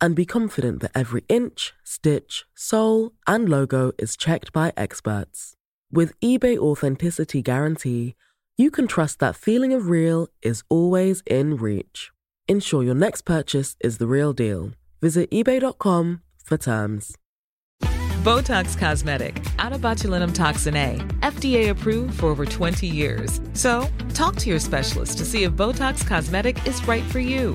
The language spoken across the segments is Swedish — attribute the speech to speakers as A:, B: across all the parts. A: and be confident that every inch, stitch, sole, and logo is checked by experts. With eBay Authenticity Guarantee, you can trust that feeling of real is always in reach. Ensure your next purchase is the real deal. Visit eBay.com for terms.
B: Botox Cosmetic, out of botulinum toxin A, FDA approved for over 20 years. So, talk to your specialist to see if Botox Cosmetic is right for you.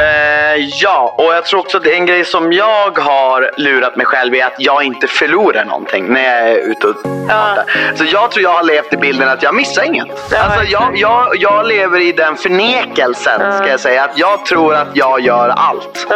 C: Eh, ja, och jag tror också att en grej som jag har lurat mig själv är att jag inte förlorar någonting när jag är ute och handlar. Så jag tror jag har levt i bilden att jag missar inget. alltså jag, jag, jag lever i den förnekelsen, ska jag säga. Att jag tror att jag gör allt.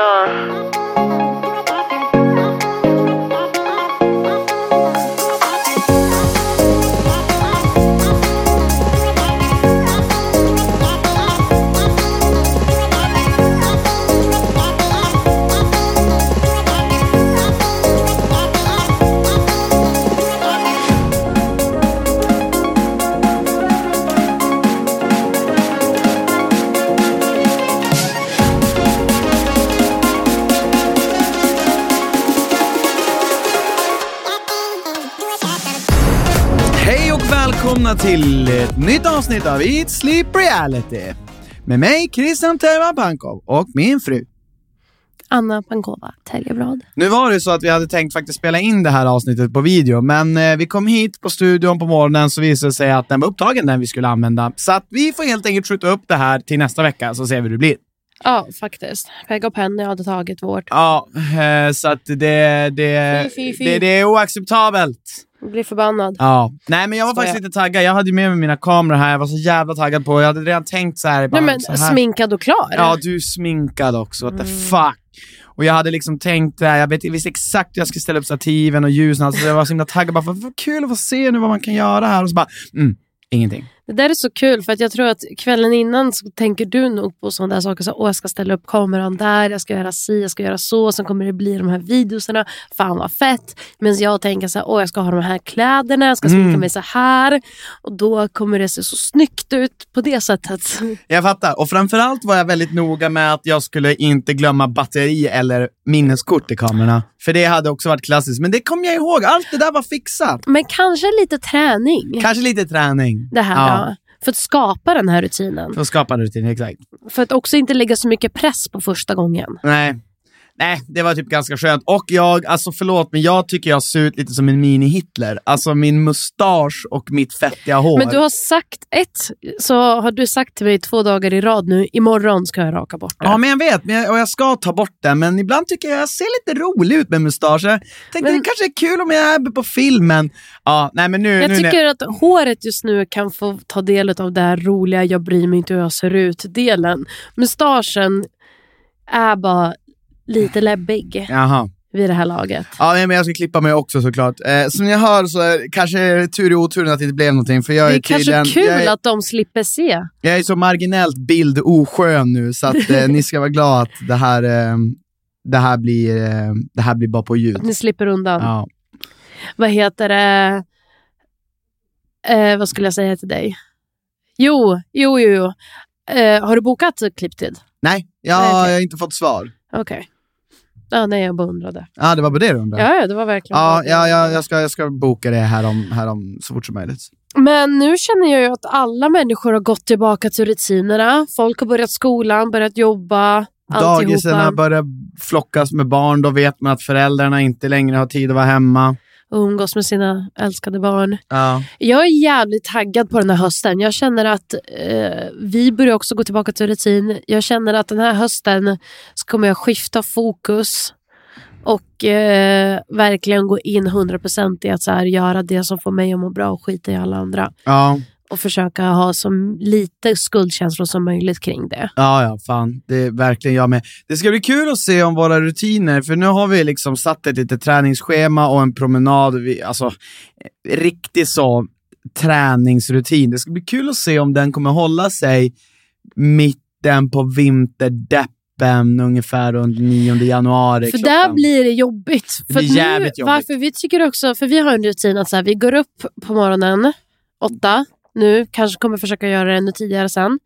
D: Hej och välkomna till ett nytt avsnitt av Eat Sleep Reality. Med mig Christian Teva Pankov och min fru.
E: Anna Pankova Teljeblad.
D: Nu var det så att vi hade tänkt faktiskt spela in det här avsnittet på video, men eh, vi kom hit på studion på morgonen så visade det sig att den var upptagen den vi skulle använda. Så att vi får helt enkelt skjuta upp det här till nästa vecka så ser vi hur det blir.
E: Ja, faktiskt. Peg och Penny hade tagit vårt.
D: Ja, eh, så att det, det,
E: Fy, fy, fy.
D: det, det är oacceptabelt.
E: Jag blir förbannad.
D: Ja. Nej, men jag var
E: Så
D: faktiskt
E: jag-
D: lite taggad. Jag hade ju med mig mina kameror här. Jag var så jävla taggad på. Jag hade redan tänkt så här. bara,
E: Nej, men
D: så här.
E: sminkad och klar.
D: Ja, du är sminkad också. What the
E: Mm.
D: fuck? Och jag hade liksom tänkt där, jag vet- jag visste exakt hur jag skulle ställa upp stativen och ljusen. Alltså, jag var så himla taggad. Bara, vad, vad kul att få se nu vad man kan göra här. Och så bara, mm, ingenting.
E: Det där är så kul för att jag tror att kvällen innan så tänker du nog på sådana där saker. Så, Åh, jag ska ställa upp kameran där, jag ska göra si, jag ska göra så. Sen kommer det bli de här videoserna. Fan vad fett. Men jag tänker så här, åh jag ska ha de här kläderna, jag ska sminka
D: Mm.
E: mig så här. Och då kommer det se så snyggt ut på det sättet.
D: Jag fattar. Och framförallt var jag väldigt noga med att jag skulle inte glömma batteri eller minneskort i kamerorna. För det hade också varit klassiskt. Men det kom jag ihåg. Allt det där var fixat.
E: Men kanske lite träning.
D: Kanske lite träning.
E: det här.
D: Ja.
E: ja. För att skapa den här rutinen.
D: För att skapa rutin, exakt.
E: För att också inte lägga så mycket press på första gången.
D: Nej. Nej, det var typ ganska skönt. Och jag, alltså förlåt, men jag tycker jag ser ut lite som en mini-Hitler. Alltså min mustasch och mitt fettiga hår.
E: Men du har sagt ett, så har du sagt till mig två dagar i rad nu, imorgon ska jag raka bort det.
D: Ja, men jag vet. Men jag, och jag ska ta bort den, men ibland tycker jag jag ser lite rolig ut med mustasch. Jag tänkte
E: Men-
D: det kanske är kul om jag är på filmen. Ja, nej men nu...
E: jag
D: nu,
E: tycker att håret just nu kan få ta del av det här roliga, jag bryr mig inte hur jag ser ut-delen. Mustaschen är bara lite läbbig
D: Jaha.
E: vid det här laget.
D: Ja, nej, men jag ska klippa mig också såklart. Eh, som ni hör så är, kanske är det tur i oturen att det inte blev någonting, för jag
E: Det
D: är,
E: är kanske
D: tydligen...
E: kul
D: jag är,
E: att de slipper se.
D: Jag är så marginellt bildoskön nu, så att eh, ni ska vara glada att det här, eh, det, här blir, eh, det här blir bara på ljud.
E: Att ni slipper undan.
D: Ja.
E: vad heter det? Eh, vad skulle jag säga till dig? Jo, jo, jo. jo. Eh, har du bokat klipptid?
D: Nej, jag
E: Nej, okej.
D: har inte fått svar.
E: Okej. Ja, nej, jag bara undrade.
D: Ja, det var på det du undrade?
E: Ja, ja det var verkligen
D: Ja,
E: bara-
D: ja, ja jag, ska, jag ska boka det här om, här om så fort som möjligt.
E: Men nu känner jag ju att alla människor har gått tillbaka till rutinerna. Folk har börjat skolan, börjat jobba.
D: Dagiserna
E: alltihopa.
D: börjar flockas med barn, då vet man att föräldrarna inte längre har tid att vara hemma.
E: och umgås med sina älskade barn.
D: Ja.
E: Jag är jävligt taggad på den här hösten. Jag känner att eh, vi börjar också gå tillbaka till rutin. Jag känner att den här hösten så kommer jag skifta fokus och eh, verkligen gå in 100% i att så här, göra det som får mig att må bra och skita i alla andra.
D: Ja,
E: Och försöka ha så lite skuldkänslor som möjligt kring det.
D: ja, ja, fan. Det är verkligen jag med. Det ska bli kul att se om våra rutiner, för nu har vi liksom satt ett litet träningsschema och en promenad. Vi, alltså, eh, riktig så träningsrutin. Det ska bli kul att se om den kommer hålla sig mitten på vinterdeppen ungefär runt 9 januari.
E: För där
D: klockan.
E: blir det jobbigt.
D: Det
E: för
D: blir
E: att
D: jävligt
E: nu,
D: jobbigt.
E: Varför vi tycker också, för vi har en rutin att så här, vi går upp på morgonen åtta nu, kanske kommer försöka göra det ännu tidigare sen.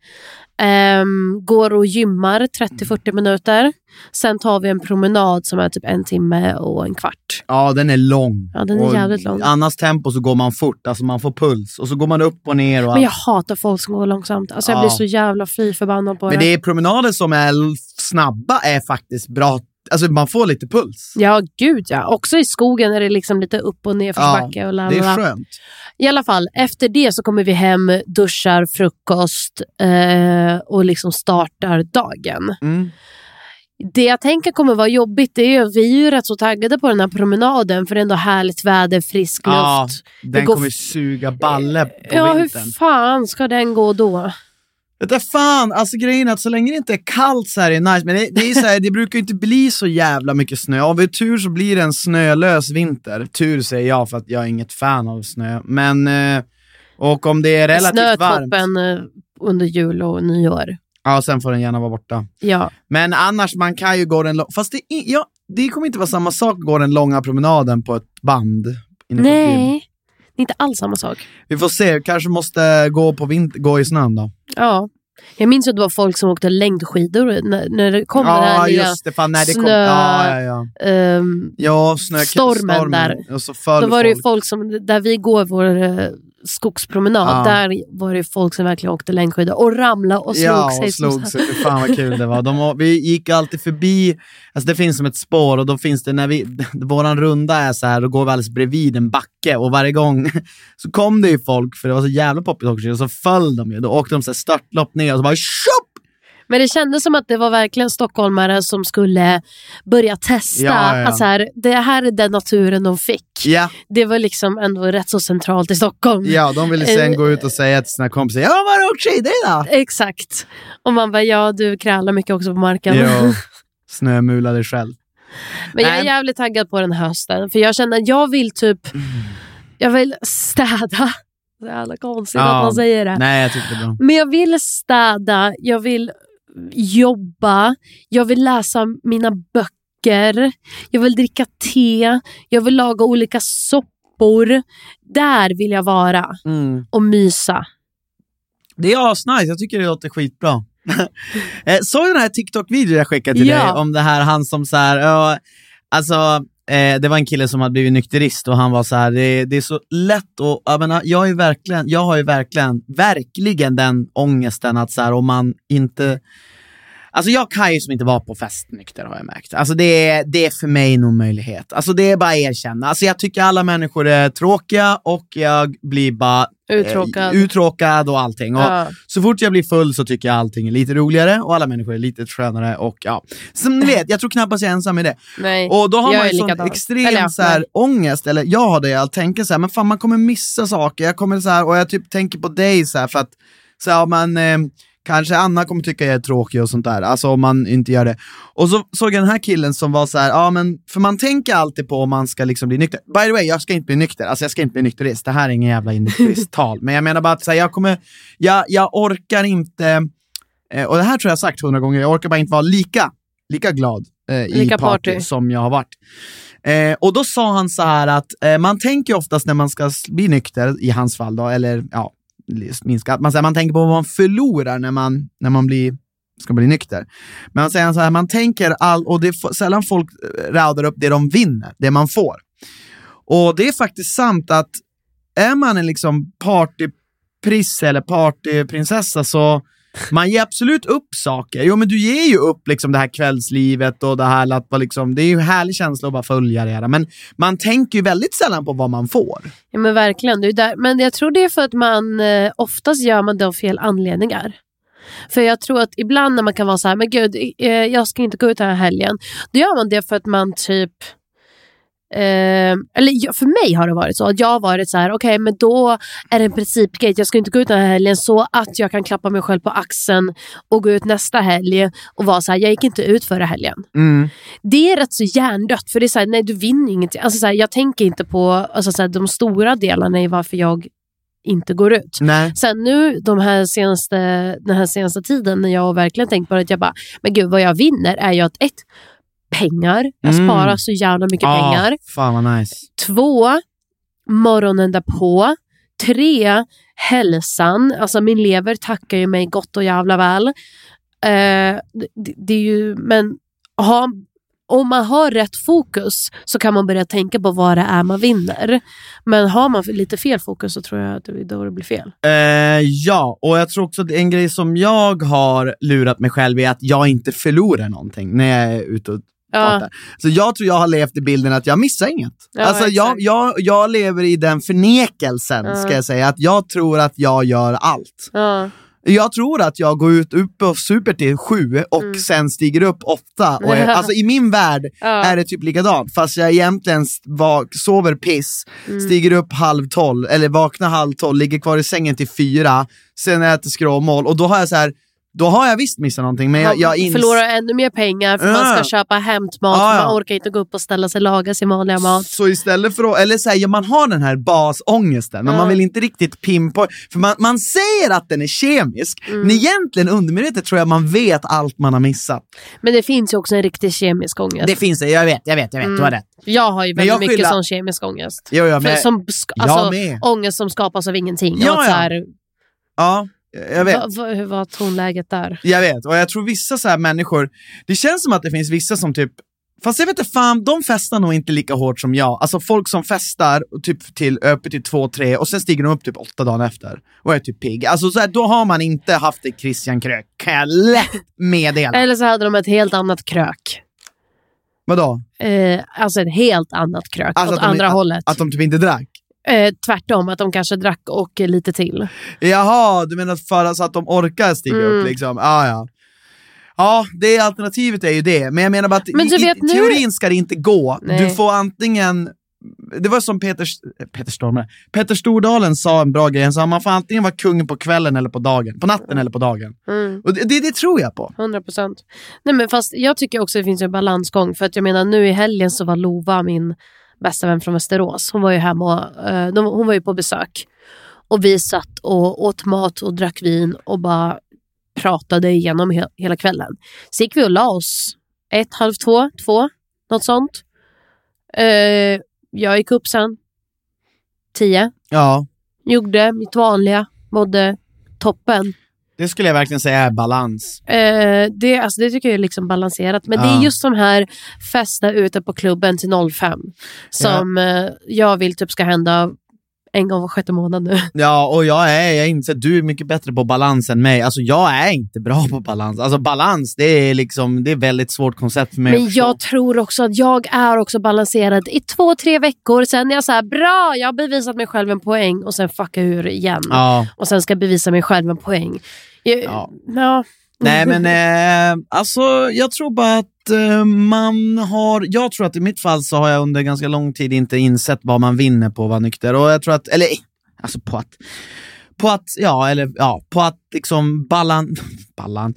E: Ehm, går och gymmar 30-40
D: Mm.
E: minuter. Sen tar vi en promenad som är typ en timme och en kvart.
D: Ja, den är lång.
E: Ja, den är
D: Och
E: jävligt lång.
D: i Annars tempo så går man fort, alltså man får puls. Och så går man upp och ner. Och
E: Men jag
D: allt.
E: hatar folk som går långsamt. Alltså jag
D: Ja.
E: blir så jävla fy förbannad på
D: Men
E: det.
D: det är promenader som är l- snabba är faktiskt bra. Alltså man får lite puls.
E: Ja, gud ja. Också i skogen är det liksom lite upp och ner för
D: Ja,
E: backe och la,
D: Det
E: la, la.
D: är skönt.
E: I alla fall, efter det så kommer vi hem, duschar, frukost eh, och liksom startar dagen.
D: Mm.
E: Det jag tänker kommer vara jobbigt det är att vi är ju rätt så taggade på den här promenaden för det är ändå härligt väder, frisk luft.
D: Ja, den
E: går
D: kommer
E: f-
D: suga balle på
E: ja,
D: vintern.
E: hur fan ska den gå då?
D: Vet du fan, alltså grejen är att så länge det inte är kallt så här är det nice. Men det, det, är så här, det brukar ju inte bli så jävla mycket snö. Av vi har tur så blir det en snölös vinter. Tur säger jag för att jag är inget fan av snö. Men, eh, och om det är relativt varmt.
E: Snötoppen eh, under jul och nyår.
D: Ja, sen får den gärna vara borta.
E: Ja,
D: Men annars, man kan ju gå den långa... Fast det, är- ja, det kommer inte vara samma sak att gå den långa promenaden på ett band. inne på ett gym.
E: nej. Det är inte alls samma sak.
D: Vi får se, kanske måste gå, på vinter, gå i snön då.
E: Ja. Jag minns att det var folk som åkte längdskidor när, när det kom den
D: ja,
E: här lilla
D: just det. Fan, nej, det kom,
E: snö-
D: ja, ja, ja.
E: ehm,
D: ja snö,
E: Stormen där.
D: Och så föll
E: Då var det ju
D: folk.
E: folk som, där vi går vår eh, skogspromenad,
D: Ja.
E: där var det ju folk som verkligen åkte längdskidor och ramlade och slog
D: ja,
E: sig.
D: och
E: som
D: slog
E: så-
D: sig. Fy Fan vad kul det var. De, å- vi gick alltid förbi, alltså det finns som ett spår och då finns det när vi, våran runda är så här, då går vi alldeles bredvid en backe och varje gång så kom det ju folk, för det var så jävla poppigt också, och så föll de ju. Då åkte de så här störtlopp ner och så bara tjopp!
E: Men det kändes som att det var verkligen stockholmare som skulle börja testa.
D: Ja, ja.
E: Att så här, det här är den naturen de fick.
D: Ja,
E: Det var liksom ändå rätt så centralt i Stockholm.
D: ja, de ville sen gå
E: Eh.
D: ut och säga till sina kompisar, ja vad har du åkt skidor idag?
E: Exakt. Och man bara, ja du krälar mycket också på marken.
D: Ja, snömula dig själv.
E: Men jag är
D: Nej. Mm.
E: jävligt taggad på den här hösten. För jag känner att jag vill typ, jag vill städa. Det är alla konstigt
D: Ja.
E: att man säger det.
D: Nej, jag tyckte det var bra.
E: Men jag vill städa, jag vill jobba, jag vill läsa mina böcker, jag vill dricka te, jag vill laga olika soppor. Där vill jag vara och mysa.
D: Det är asnice, jag tycker det låter skitbra. Eh, Såg du den här TikTok-videon jag skickade till
E: Ja.
D: dig om det här, han som så här, ja, alltså eh, det var en kille som hade blivit nykterist och han var så här, det, det är så lätt och jag menar, jag, är ju verkligen, jag har ju verkligen, verkligen den ångesten att så här om man inte Alltså jag kan ju som inte vara på fest nykter har jag märkt. Alltså det är, det är för mig en omöjlighet. Alltså det är bara att erkänna. Alltså jag tycker alla människor är tråkiga och jag blir bara
E: Uttråkad.
D: eh, uttråkad och allting. Och
E: Ja.
D: så fort jag blir full så tycker jag allting är lite roligare och alla människor är lite skönare och ja. Som ni vet, jag tror knappast jag är ensam i det.
E: Nej,
D: Och då har
E: jag
D: man
E: är
D: ju sån
E: likadan.
D: extrem
E: Eller ja,
D: så här, ångest, eller jag har det, jag tänker så här, men fan man kommer missa saker, jag kommer så här, och jag typ tänker på dig så här för att, så här, man, eh, kanske Anna kommer tycka jag är tråkig och sånt där, alltså om man inte gör det. Och så såg jag den här killen som var så här, ja men, för man tänker alltid på om man ska liksom bli nykter. By the way, jag ska inte bli nykter, alltså jag ska inte bli nykterist, det här är ingen jävla nykteristtal, men jag menar bara att så här, jag kommer, jag, jag orkar inte, eh, och det här tror jag har sagt hundra gånger, jag orkar bara inte vara lika, lika glad eh, i
E: Lika
D: party,
E: party.
D: som jag har varit. Eh, och då sa han så här att eh, man tänker oftast när man ska s- bli nykter, i hans fall då, eller ja, minska, att man, så här, man tänker på vad man förlorar när man, när man blir, ska bli nykter. Men han säger så här, man tänker all, och det är f- sällan folk eh, radar upp det de vinner, det man får. Och det är faktiskt sant att är man en liksom partypriss eller partyprinsessa så Man ger absolut upp saker. Jo, men du ger ju upp liksom det här kvällslivet och det här att vara liksom, det är ju en härlig känsla att bara följa det. Här. Men man tänker ju väldigt sällan på vad man får.
E: Ja, men verkligen. Det är där. Men jag tror det är för att man eh, oftast gör man det av fel anledningar. För jag tror att ibland när man kan vara så här, men gud, eh, jag ska inte gå ut den här helgen. Då gör man det för att man typ... Eh, eller jag- för mig har det varit så. att Jag har varit så här, okej, men då är det en principgrej. Jag ska inte gå ut den här helgen så att jag kan klappa mig själv på axeln och gå ut nästa helg och vara så här, jag gick inte ut förra helgen det är rätt så hjärndött. För det är såhär, nej du vinner ingenting. Alltså, såhär, jag tänker inte på alltså, såhär, de stora delarna i varför jag inte går ut.
D: Nej.
E: Sen nu de här senaste, den här senaste tiden när jag verkligen tänkt på det, att jag bara, men gud vad jag vinner är ju att ett, pengar. Jag
D: Mm.
E: sparar så jävla mycket pengar.
D: Fan vad nice.
E: Två, morgonen därpå. Tre, hälsan. Alltså min lever tackar ju mig gott och jävla väl. Eh, det, det är ju, men ha, om man har rätt fokus så kan man börja tänka på vad det är man vinner. Men har man lite fel fokus så tror jag att det är då det blir fel.
D: Eh, ja, och jag tror också att en grej som jag har lurat mig själv är att jag inte förlorar någonting när jag är ute och
E: Ja,
D: pratar. Så jag tror jag har levt i bilden att jag missar inget.
E: Ja,
D: alltså jag,
E: exakt.
D: jag, jag lever i den förnekelsen,
E: Ja.
D: ska jag säga, att jag tror att jag gör allt.
E: ja,
D: Jag tror att jag går ut upp och super till sju och
E: Mm.
D: sen stiger upp åtta. Och är, alltså i min värld
E: ja.
D: är det typ likadant, fast jag egentligen s- vak- sover piss,
E: Mm.
D: stiger upp halv tolv, eller vaknar halv tolv, ligger kvar i sängen till fyra, sen äter skråmål och då har jag så här, då har jag visst missat någonting men jag, jag
E: Man
D: ins-
E: förlorar ännu mer pengar för man
D: Ja.
E: ska köpa hämtmat.
D: Ja, ja.
E: Man orkar inte gå upp och ställa sig och laga sin vanliga mat.
D: Så istället för att, eller så här, ja, man har den här basångesten, men
E: Ja.
D: man vill inte riktigt pinpoint, för man, man säger att den är kemisk,
E: Mm.
D: men egentligen undermedvetet tror jag man vet allt man har missat.
E: Men det finns ju också en riktig kemisk ångest.
D: Det finns det, jag vet, jag vet, jag vet, du
E: Mm.
D: har rätt.
E: Jag har ju väldigt
D: jag
E: mycket
D: skyller-
E: sån kemisk ångest.
D: Jo, jo,
E: För,
D: men,
E: som, sk-
D: jag
E: alltså,
D: med.
E: ångest som skapas av ingenting.
D: Ja,
E: och att
D: ja.
E: så här,
D: ja, jag vet.
E: va, va, hur var tonläget där?
D: Jag vet, och jag tror vissa så här människor, det känns som att det finns vissa som typ, fast jag vet inte fan, de festar nog inte lika hårt som jag. Alltså folk som festar och typ till öppet till två, tre och sen stiger de upp typ åtta dagar efter och är typ pigg. Alltså så här, då har man inte haft det Christian Krök, kan jag lätt meddela.
E: Eller så hade de ett helt annat krök.
D: Vadå?
E: Eh, alltså ett helt annat krök
D: Alltså
E: åt
D: att de-
E: andra hållet.
D: Att de typ inte drack?
E: eh, tvärtom, att de kanske drack och eh, lite till.
D: Jaha, du menar för, så att de orkar stiga upp
E: Mm.
D: liksom? Ah, ja, ja. det alternativet är ju det. Men jag menar bara att
E: Men du
D: i,
E: vet
D: i
E: nu-
D: teorin ska det inte gå.
E: Nej.
D: Du får antingen... Det var som Peter, eh, Peter Stormare. Peter Stordalen sa en bra grej. Han sa man får antingen vara kungen på kvällen eller på dagen. På natten eller på dagen.
E: Mm.
D: Och det, det, det tror jag på.
E: 100 procent. Nej men fast jag tycker också det finns en balansgång. För att jag menar nu i helgen så var Lova min bästa vän från Västerås. Hon var ju hemma och, eh, de, hon var ju på besök. Och vi satt och åt mat och drack vin och bara pratade igenom he- hela kvällen. Så gick vi och la oss ett, halv två, två, något sånt. Eh, jag gick upp sen tio,
D: Ja,
E: gjorde mitt vanliga, mådde toppen.
D: det skulle jag verkligen säga är balans.
E: Eh, det, alltså, det tycker jag är liksom balanserat. Men
D: Ja.
E: det är just de här festa ute på klubben till 05 som eh, jag vill typ ska hända en gång var sjätte månad nu.
D: Ja, och jag är, jag inser att du är mycket bättre på balans än mig. Alltså jag är inte bra på balans. Alltså balans, det är liksom, det är ett väldigt svårt koncept för mig
E: Men
D: att förstå.
E: jag tror också att jag är också balanserad i två, tre veckor. Sen är jag så här, bra, jag har bevisat mig själv en poäng och sen fuckar jag ur igen.
D: Ja.
E: Och sen ska jag bevisa mig själv en poäng. Jag,
D: Ja.
E: ja.
D: Nej men eh, alltså jag tror bara att eh, man har, jag tror att i mitt fall så har jag under ganska lång tid inte insett vad man vinner på att vara nykter. Och jag tror att, eller eh, alltså på att, på att, ja eller ja, på att liksom ballan, ballan.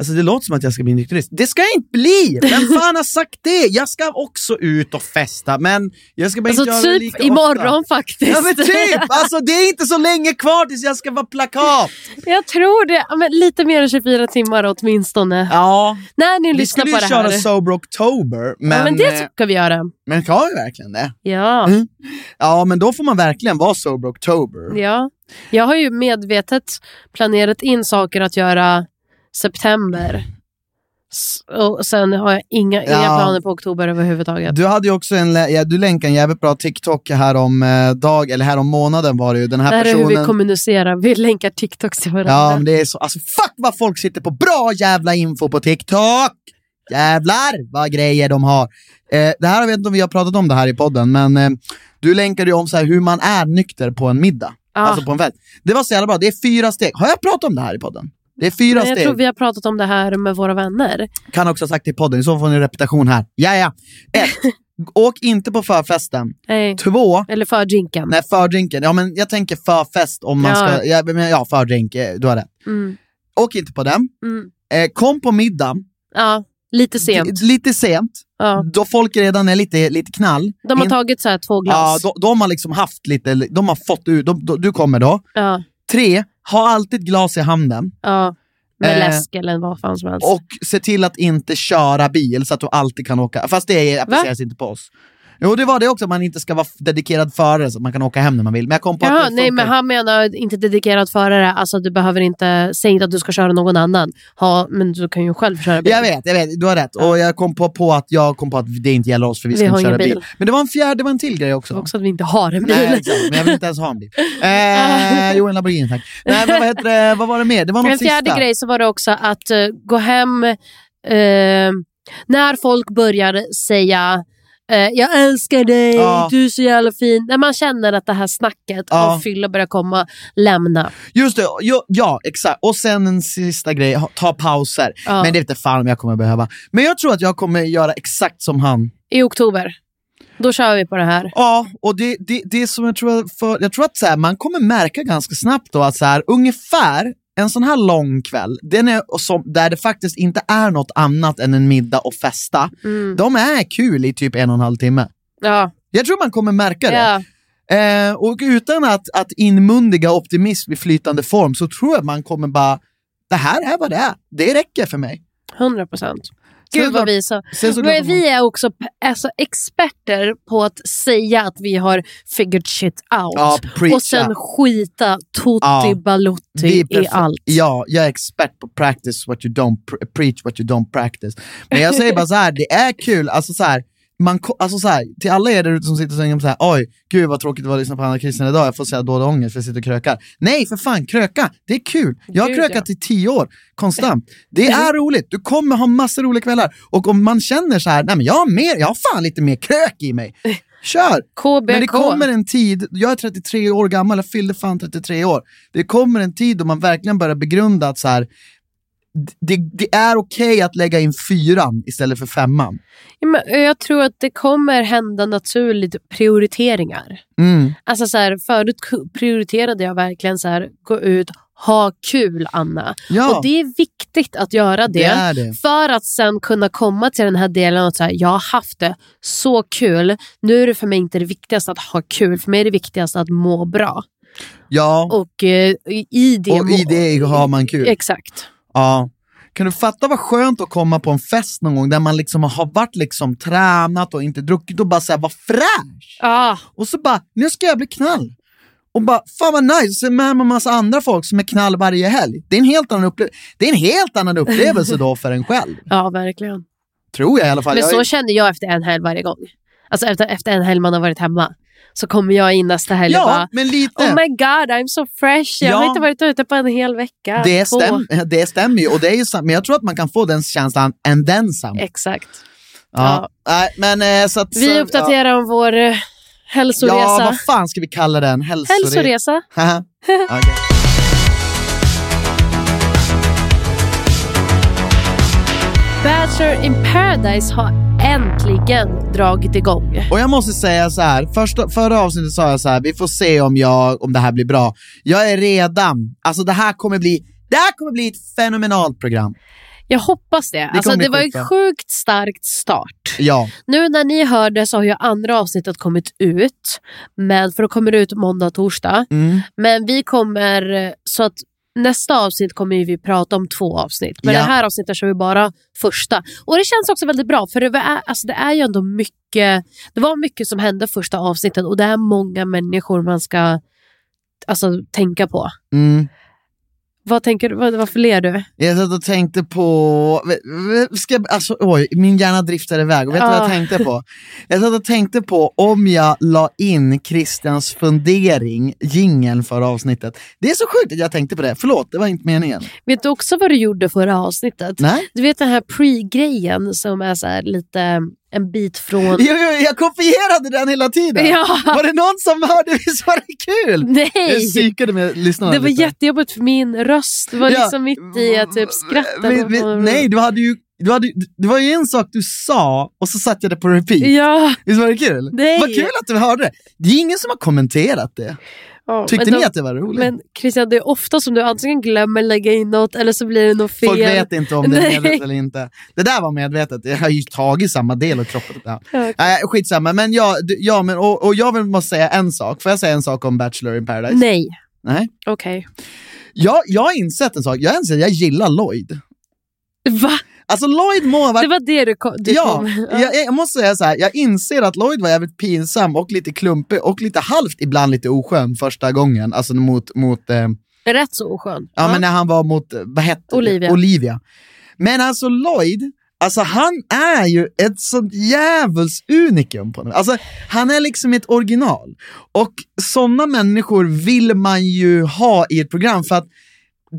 D: Alltså det låter som att jag ska bli nykterist. Det ska jag inte bli! Vem fan har sagt det? Jag ska också ut och festa, men jag ska bara
E: Alltså
D: inte göra det
E: typ
D: lika ofta.
E: imorgon faktiskt.
D: Ja men typ! Alltså det är inte så länge kvar tills jag ska vara plakat!
E: jag tror det. Ja, Men lite mer än 24 timmar åtminstone.
D: Ja,
E: När ni
D: Vi
E: lyssnar
D: skulle
E: på
D: ju
E: det
D: köra
E: här.
D: Sober October, men,
E: ja, men
D: eh,
E: det ska vi göra.
D: men kan vi verkligen det?
E: Ja,
D: Mm. Ja, men då får man verkligen vara Sober October.
E: ja. Jag har ju medvetet planerat in saker att göra september. S- Och sen har jag inga, inga
D: Ja.
E: planer på oktober överhuvudtaget.
D: Du hade ju också en, lä- ja, du länkade en jävligt bra TikTok här om eh, dag, eller här om månaden var det ju. Den här
E: det här
D: personen.
E: är hur vi kommunicerar. Vi länkar TikToks till varandra.
D: Ja, men det är så. Alltså fuck vad folk sitter på bra jävla info på TikTok! Jävlar vad grejer de har. Eh, det här jag vet inte om vi har pratat om det här i podden, men eh, du länkade ju om så här hur man är nykter på en middag.
E: Ja.
D: Alltså på en fest. Det var så jävla bra. Det är fyra steg. Har jag pratat om det här i podden? Det är fyra
E: Men jag
D: steg.
E: tror vi har pratat om det här med våra vänner.
D: Kan också ha sagt i podden, i så fall får ni repetition här. Ja, ja. Ett. Åk inte på förfesten.
E: Nej.
D: Två.
E: Eller för drinken.
D: Nej, fördrinken. Ja, men jag tänker förfest om man
E: Ja.
D: ska... Ja, men, ja fördrink. eh, Du har rätt.
E: Mm.
D: Åk inte på den.
E: Mm.
D: Eh, kom på middag.
E: Ja, lite sent.
D: D- Lite sent.
E: Ja.
D: Då folk redan är lite, lite knall.
E: De har
D: In-
E: tagit så här två
D: Ja,
E: glas.
D: de, de har liksom haft lite... De har fått ut... De, de, du kommer då.
E: Ja,
D: Tre. Ha alltid glas i handen.
E: ja. Med
D: Eh,
E: läsk eller vad fan som helst.
D: Och se till att inte köra bil så att du alltid kan åka. Fast det är- appliceras inte på oss. Jo, det var det också. att Man inte ska vara f- dedikerad förare så att man kan åka hem när man vill. Men jag kom på
E: Jaha,
D: att det
E: nej,
D: funkar.
E: men han menar inte dedikerad förare. Alltså, du behöver inte, säg inte att du ska köra någon annan. Ha, men du kan ju själv köra bil.
D: Jag vet, jag vet, du har rätt. Och jag kom på, på att jag kom på att det inte gäller oss för vi,
E: Vi
D: ska
E: har
D: inte köra
E: ingen
D: bil.
E: bil.
D: Men det var en fjärde, det var en till grej också.
E: Också att vi inte har en bil.
D: Nej, exakt. men jag vill inte ens ha en bil. Eh, jo, en Lamborghini tack. Nej, men vad, heter det? vad var det mer? Det var något
E: en fjärde
D: sista.
E: grej så var det också att eh, gå hem eh, när folk börjar säga eh, jag älskar dig,
D: Ja.
E: du är så jävla fin. När man känner att det här snacket
D: Ja.
E: av fylla börjar komma, lämna.
D: Just det, jo, ja exakt. Och sen en sista grej, ha- ta pauser.
E: Ja.
D: Men det vet inte fan om jag kommer behöva. Men jag tror att jag kommer göra exakt som han.
E: I oktober, då kör vi på det här.
D: Ja, och det, det, det är som jag tror, för, jag tror att så här, man kommer märka ganska snabbt då att så här, ungefär en sån här lång kväll, den är som, där det faktiskt inte är något annat än en middag och festa,
E: Mm.
D: de är kul i typ en och en halv timme.
E: Ja.
D: Jag tror man kommer märka det.
E: Ja.
D: Eh, och utan att, att inmundiga optimism i flytande form så tror jag man kommer bara, det här är vad det är. Det räcker för mig.
E: 100 procent.
D: Sen
E: Gud vad
D: klart-
E: vi så.
D: sen så
E: Men
D: klart-
E: vi är också p- alltså, experter på att säga att vi har figured shit out.
D: Ja, preacha.
E: och sen skita tutti
D: Ja. Vi
E: balutti
D: är
E: typ i
D: prefer-
E: allt.
D: Ja, jag är expert på practice what you don't pr- preach what you don't practice. Men jag säger bara så här, det är kul, alltså så här, man, ko- alltså så här, till alla er där ute som sitter och tänker så här, oj, gud vad tråkigt det var att lyssna på Anna Kristina idag, jag får säga dålig ångest för jag sitter och krökar. Nej, för fan, kröka, det är kul. Jag har
E: Gud, Mm.
D: krökat i tio år, konstant. Det är roligt, du kommer ha massor roliga kvällar. Och om man känner så här, nej men jag har mer, jag har fan lite mer krök i mig. Kör!
E: KBK.
D: Men det kommer en tid, jag är 33 år gammal, jag fyllde fan 33 år. Det kommer en tid då man verkligen börjar begrunda att så här, det, det är okej att lägga in fyran istället för femman.
E: Ja, men eh, jag tror att det kommer hända naturligt prioriteringar.
D: Mm.
E: Alltså så här, förut ku- prioriterade jag verkligen så här, gå ut, ha kul Anna.
D: Ja,
E: Och det är viktigt att göra det.
D: det är det.
E: För att sen kunna komma till den här delen och säga jag har haft det så kul. Nu är det för mig inte det viktigaste att ha kul. För mig är det viktigaste att må bra.
D: Ja,
E: Och eh, i- i det...
D: och i det har man kul.
E: Exakt.
D: Ja. Kan du fatta vad skönt att komma på en fest någon gång där man liksom har varit liksom tränat och inte druckit och bara säga vad fräsch!
E: Ah,
D: Och så bara, nu ska jag bli knall. Och bara, fan vad nice, så är man med en massa andra folk som är knall varje helg. Det är en helt annan, upple- det är en helt annan upplevelse då för en själv.
E: ja, verkligen.
D: Tror jag i alla fall.
E: Men
D: jag
E: så
D: är...
E: känner jag efter en helg varje gång. Alltså efter, efter en helg man har varit hemma. Så kommer jag in nästa helg och
D: Ja,
E: bara
D: men lite.
E: Oh my god, I'm so fresh. Jag har
D: Ja.
E: inte varit ute på en hel vecka.
D: det,
E: Två.
D: stäm- det stämmer ju. Och det är ju sant. Men jag tror att man kan få den känslan and then some.
E: Exakt.
D: Ja. Nej, men, eh, så att,
E: Vi
D: så,
E: uppdaterar om vår eh,
D: ja.
E: hälsoresa.
D: Ja, vad fan ska vi kalla den? Hälsore-
E: Hälsoresa.
D: Haha. Okej.
E: Bachelor in paradise har äntligen dragit igång.
D: Och jag måste säga så här, första, förra avsnittet sa jag så här, vi får se om, jag, om det här blir bra. Jag är redan, alltså det här kommer bli, det här kommer bli ett fenomenalt program.
E: Jag hoppas det. Det, alltså,
D: kommer bli
E: det var
D: skitbra.
E: en sjukt starkt start.
D: Ja,
E: Nu när ni hör det så har ju andra avsnittet kommit ut. Men, för då kommer det ut måndag och torsdag.
D: mm.
E: Men vi kommer, eh, så att nästa avsnitt kommer ju vi prata om två avsnitt. Men
D: Ja.
E: det här avsnittet kör vi bara första. Och det känns också väldigt bra för det är, alltså det är ju ändå mycket, det var mycket som hände första avsnittet och det är många människor man ska alltså, tänka på.
D: Mm.
E: Vad tänker du? Vad, varför ler du?
D: Jag satt och tänkte på... Ska, jag- alltså, oj, min hjärna driftade iväg. Och vet du vad
E: Ah.
D: jag tänkte på? Jag satt och tänkte på om jag la in Christians fundering, jingeln för avsnittet. Det är så sjukt att jag tänkte på det. Förlåt, det var inte meningen.
E: Vet du också vad du gjorde förra avsnittet?
D: Nej?
E: Du vet den här pre-grejen som är så här lite mm, en bit från...
D: Jag, jag, jag kopierade den hela tiden.
E: Ja,
D: Var det någon som hörde? Visst var det kul? Jag
E: nej!
D: psykade med lyssnarna
E: Det var
D: lite.
E: jättejobbigt för min röst. Det var
D: Ja.
E: liksom mitt i att typ skratta.
D: Vi- vi- Nej, du hade ju... Du hade, det var ju en sak du sa och så satte jag det på repeat.
E: Ja.
D: Visst var det kul?
E: Nej.
D: Vad kul att du hörde det. Det är ingen som har kommenterat det.
E: Ja,
D: Tyckte
E: men
D: ni
E: de-
D: att det var roligt?
E: Men Christian, det är ofta som du antingen glömmer lägga in något eller så blir det något fel.
D: Folk vet inte om det är
E: Nej.
D: medvetet eller inte. Det där var medvetet. Jag har ju tagit samma del av kroppen. Ja.
E: Ja,
D: Nej, skitsamma. Men jag, du- ja, men, och, och jag vill måste säga en sak. Får jag säga en sak om Bachelor in paradise?
E: Nej.
D: Nej.
E: Okej.
D: Jag, jag har insett en sak. Jag har insett att jag gillar Lloyd.
E: Va?
D: Alltså Lloyd må ha varit
E: Det var det du kom... Du
D: ja,
E: kom.
D: jag, jag måste säga så här, jag inser att Lloyd var jävligt pinsam och lite klumpig och lite halvt, ibland lite oskön första gången. Alltså mot, mot eh, ja,
E: Rätt så oskön.
D: men när han var mot, eh, vad hette det?
E: Olivia.
D: Olivia. Men alltså Lloyd, alltså han är ju ett sånt djävuls unikum på något Alltså han är liksom ett original. Och sådana människor vill man ju ha i ett program för att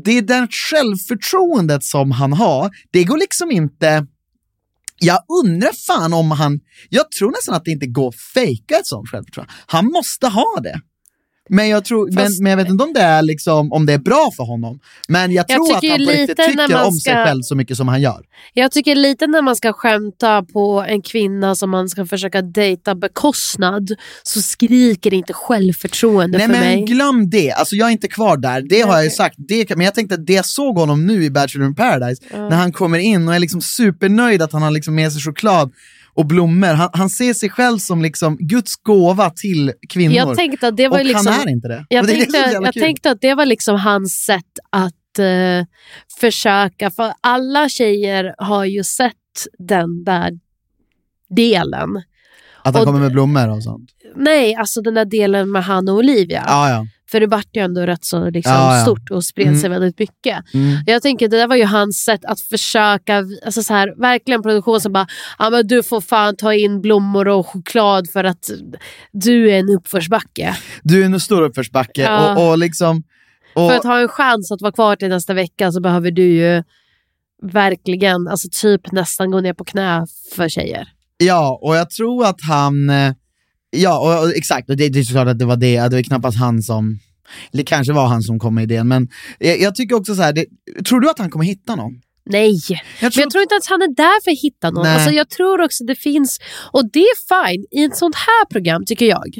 D: det är det självförtroendet som han har, det går liksom inte... Jag undrar fan om han... Jag tror nästan att det inte går att fejka ett sånt självförtroende. Han måste ha det. Men jag, tror, men,
E: Fast-
D: men jag vet inte om det, är liksom, om det är bra för honom. Men jag
E: Jag
D: tror att
E: tycker
D: han
E: ju
D: på
E: lite
D: riktigt
E: när
D: tycker
E: man
D: om sig
E: ska-
D: själv så mycket som han gör.
E: Jag tycker lite när man ska skämta på en kvinna som man ska försöka dejta bekostnad så skriker det inte självförtroende
D: Nej
E: för
D: men
E: mig.
D: glöm det, alltså jag är inte kvar där. Det har jag ju
E: Okej.
D: sagt, det, kan- men jag tänkte att det jag såg honom nu i Bachelor in paradise, när han kommer in och är liksom supernöjd att han har liksom med sig choklad och blommor. Han, han ser sig själv som liksom Guds gåva till kvinnor.
E: Jag tänkte att det var
D: och
E: ju liksom...
D: han är inte det.
E: Jag,
D: Och det är det
E: tänkte,
D: som är så jävla
E: jag
D: kul.
E: tänkte att det var liksom hans sätt att eh, försöka. För alla tjejer har ju sett den där delen.
D: Att han
E: och-
D: kommer med blommor och sånt.
E: Nej, alltså den där delen med han och Olivia.
D: Ja, ja.
E: För det vart ju ändå rätt så liksom,
D: Ja, ja.
E: stort och spred sig väldigt mycket.
D: Mm.
E: Jag tänker det där var ju hans sätt att försöka, alltså så här, verkligen produktion som bara, ja men du får fan ta in blommor och choklad för att du är en uppförsbacke.
D: Du är en stor uppförsbacke
E: Ja.
D: och, och liksom... Och,
E: För att ha en chans att vara kvar till nästa vecka så behöver du ju verkligen, alltså typ nästan gå ner på knä för tjejer.
D: Ja, och jag tror att han... eh, Ja, och, och, exakt. Och det, det är såklart att det var det. Det var knappt han som... Det kanske var han som kom med idén, men jag, jag tycker också så här, det, tror du att han kommer hitta någon?
E: Nej,
D: Jag
E: men jag tror inte att han är där för att hitta någon.
D: Nej.
E: Alltså, jag tror också det finns, och det är fine i ett sånt här program tycker jag.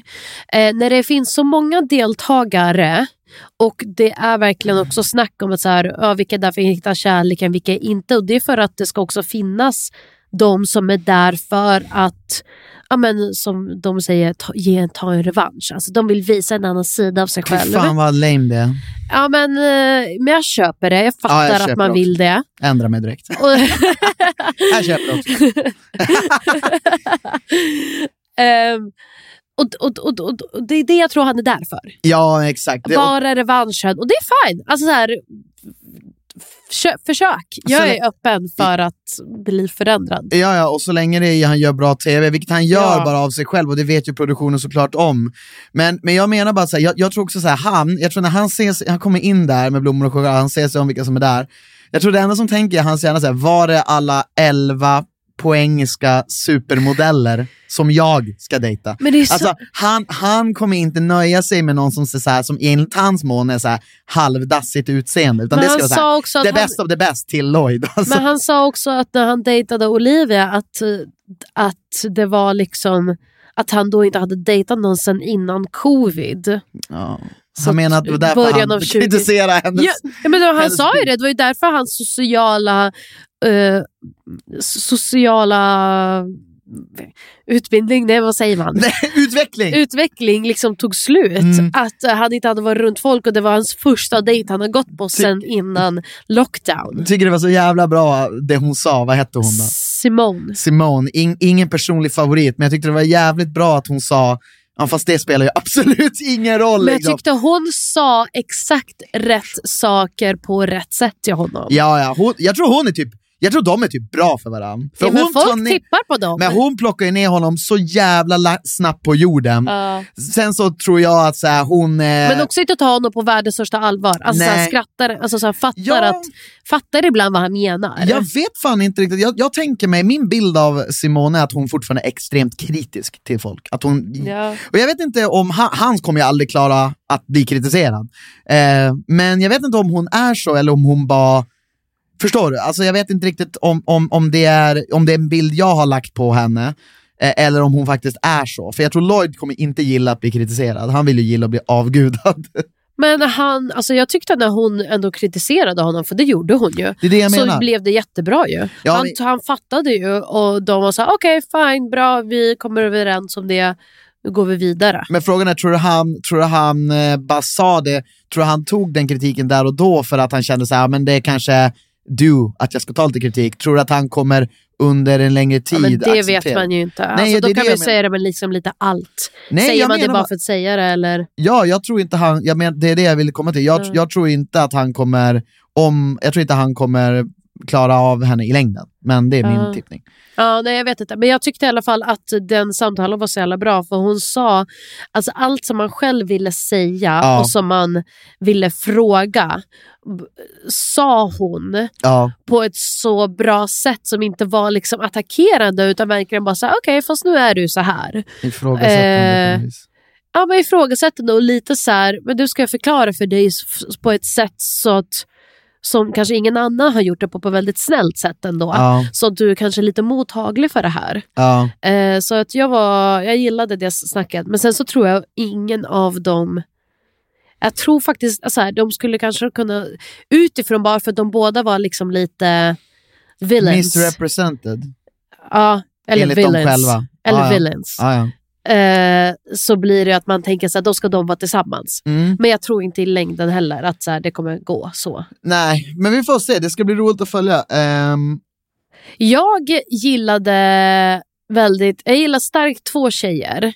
E: Eh, när det finns så många deltagare och det är verkligen också snack om att så här, ja, vilka är där för att hitta kärleken, vilka är inte. Och det är för att det ska också finnas de som är där för att, ja, men, som de säger, ta, ge, ta en revansch. Alltså, de vill visa en annan sida av sig
D: Fy
E: själv.
D: fan vad lame det är.
E: Ja, men, eh, men jag köper det, jag fattar
D: köper
E: att man
D: det
E: vill det.
D: Ändra mig direkt.
E: Och-
D: Jag köper det också.
E: Ehm, och, och, och, och, och det är det jag tror han är där för.
D: Ja, exakt. Det, och,
E: Bara revanschen. Och det är fine. Alltså så här, försö- försök. Jag
D: Så lä-
E: är öppen för att bli förändrad.
D: ja, ja, och så länge det är, han gör bra tv, vilket han gör
E: Ja.
D: bara av sig själv och det vet ju produktionen såklart om. Men, men jag menar bara så här, jag, jag tror också så här, han, jag tror när han, ses, han kommer in där med blommor och choklad, han ser sig om vilka som är där. Jag tror det enda som tänker i hans hjärna är så här, var är alla 11 poängiska supermodeller som jag ska dejta?
E: Men det är så...
D: Alltså, han, han kommer inte nöja sig med någon som ser så här, som enligt hans mån är så här halvdassigt utseende. Utan
E: men
D: det ska vara
E: han
D: så här,
E: sa också att
D: the
E: han,
D: best of the best till Lloyd. Alltså.
E: men han sa också att när han dejtade Olivia att, eh, att det var liksom att han då inte hade dejtat någon sen innan covid.
D: ja.
E: Så
D: Han menar att det var därför
E: början av
D: han
E: 20
D: kritiserade hennes...
E: Ja, ja, men det var- han
D: hennes
E: sa ju
D: bild.
E: det, det var ju därför hans sociala, eh, sociala utbildning, nej vad säger man?
D: Nej, utveckling!
E: Utveckling liksom tog slut.
D: Mm.
E: Att eh, han inte hade varit runt folk och det var hans första dejt han har gått
D: Typ.
E: på sen innan lockdown.
D: Jag tycker det var så jävla bra det hon sa, vad hette hon då?
E: Simone.
D: Simone, in, ingen personlig favorit, men jag tyckte det var jävligt bra att hon sa Ja, fast det spelar ju absolut ingen roll.
E: Men jag
D: liksom.
E: tyckte hon sa exakt rätt saker på rätt sätt till honom.
D: Ja, ja. Hon, jag tror hon är typ... Jag tror de är typ bra för varandra. För
E: Ja, men
D: hon tar
E: folk typ-
D: ner-
E: tippar på dem.
D: men hon plockar ju ner honom så jävla la- snabbt på jorden.
E: Ja.
D: Sen så tror jag att så här, hon... Eh,
E: men också inte ta honom på världens största allvar. Alltså,
D: Nej.
E: så här, skrattar, alltså så här, fattar,
D: Ja.
E: att, fattar ibland vad han menar.
D: jag vet fan inte riktigt. Jag, jag tänker mig, min bild av Simone är att hon fortfarande är extremt kritisk till folk. Att hon,
E: Ja.
D: Och jag vet inte om, han, han kommer ju aldrig klara att bli kritiserad. Eh, men jag vet inte om hon är så eller om hon bara, förstår du? Alltså jag vet inte riktigt om, om, om, det, är, om det är en bild jag har lagt på henne. eh, Eller om hon faktiskt är så. För jag tror Lloyd kommer inte gilla att bli kritiserad. Han vill ju gilla att bli avgudad.
E: Men han, alltså jag tyckte när hon ändå kritiserade honom, för det gjorde hon ju,
D: Det är det jag
E: så
D: menar.
E: blev det jättebra ju.
D: Ja,
E: han,
D: men-
E: han fattade ju och de var så här, okej fine, bra, vi kommer överens om det, nu går vi vidare.
D: Men frågan är, tror du han, tror du han eh, bara sa det, tror du han tog den kritiken där och då för att han kände så här, men det är kanske du, att jag ska ta lite kritik. Tror du att han kommer under en längre tid
E: Ja, men det
D: acceptera?
E: vet man ju inte.
D: Nej,
E: alltså,
D: det är
E: då
D: det
E: kan man ju
D: jag
E: säga det med liksom lite allt.
D: Nej,
E: Säger
D: jag
E: man det
D: menar
E: bara
D: bara-
E: för att säga det eller?
D: Ja, jag tror inte han, jag men, det är det jag ville komma till. Jag,
E: Ja.
D: jag tror inte att han kommer, om, jag tror inte han kommer klara av henne i längden. Men det är min
E: Ja.
D: tippning.
E: Ja, nej jag vet inte. Men jag tyckte i alla fall att den samtalen var så jävla bra för hon sa alltså allt som man själv ville säga
D: Ja.
E: och som man ville fråga b- sa hon
D: Ja,
E: på ett så bra sätt som inte var liksom attackerande utan verkligen bara så här, okej fast nu är du så här.
D: ifrågasättande.
E: Eh,
D: på något vis.
E: Ja men ifrågasättande och lite så här, men du ska jag förklara för dig s- f- på ett sätt så att som kanske ingen annan har gjort det på, på ett väldigt snällt sätt ändå.
D: Ja,
E: Så att du är kanske är lite mottaglig för det här.
D: ja.
E: Eh, så att jag, var, jag gillade det snacket. Men sen så tror jag ingen av dem... Jag tror faktiskt så här, de skulle kanske kunna... Utifrån bara för att de båda var liksom lite villains.
D: Misrepresented,
E: ja, eller
D: enligt dem
E: villains.
D: själva.
E: Eller
D: ja, ja.
E: villains.
D: Ja, ja.
E: Eh, så blir det att man tänker så här, då ska de vara tillsammans.
D: Mm.
E: Men jag tror inte i längden heller att så här, det kommer gå så.
D: Nej, men vi får se. Det ska bli roligt att följa. Ehm,
E: Jag gillade väldigt, jag gillar starkt två tjejer.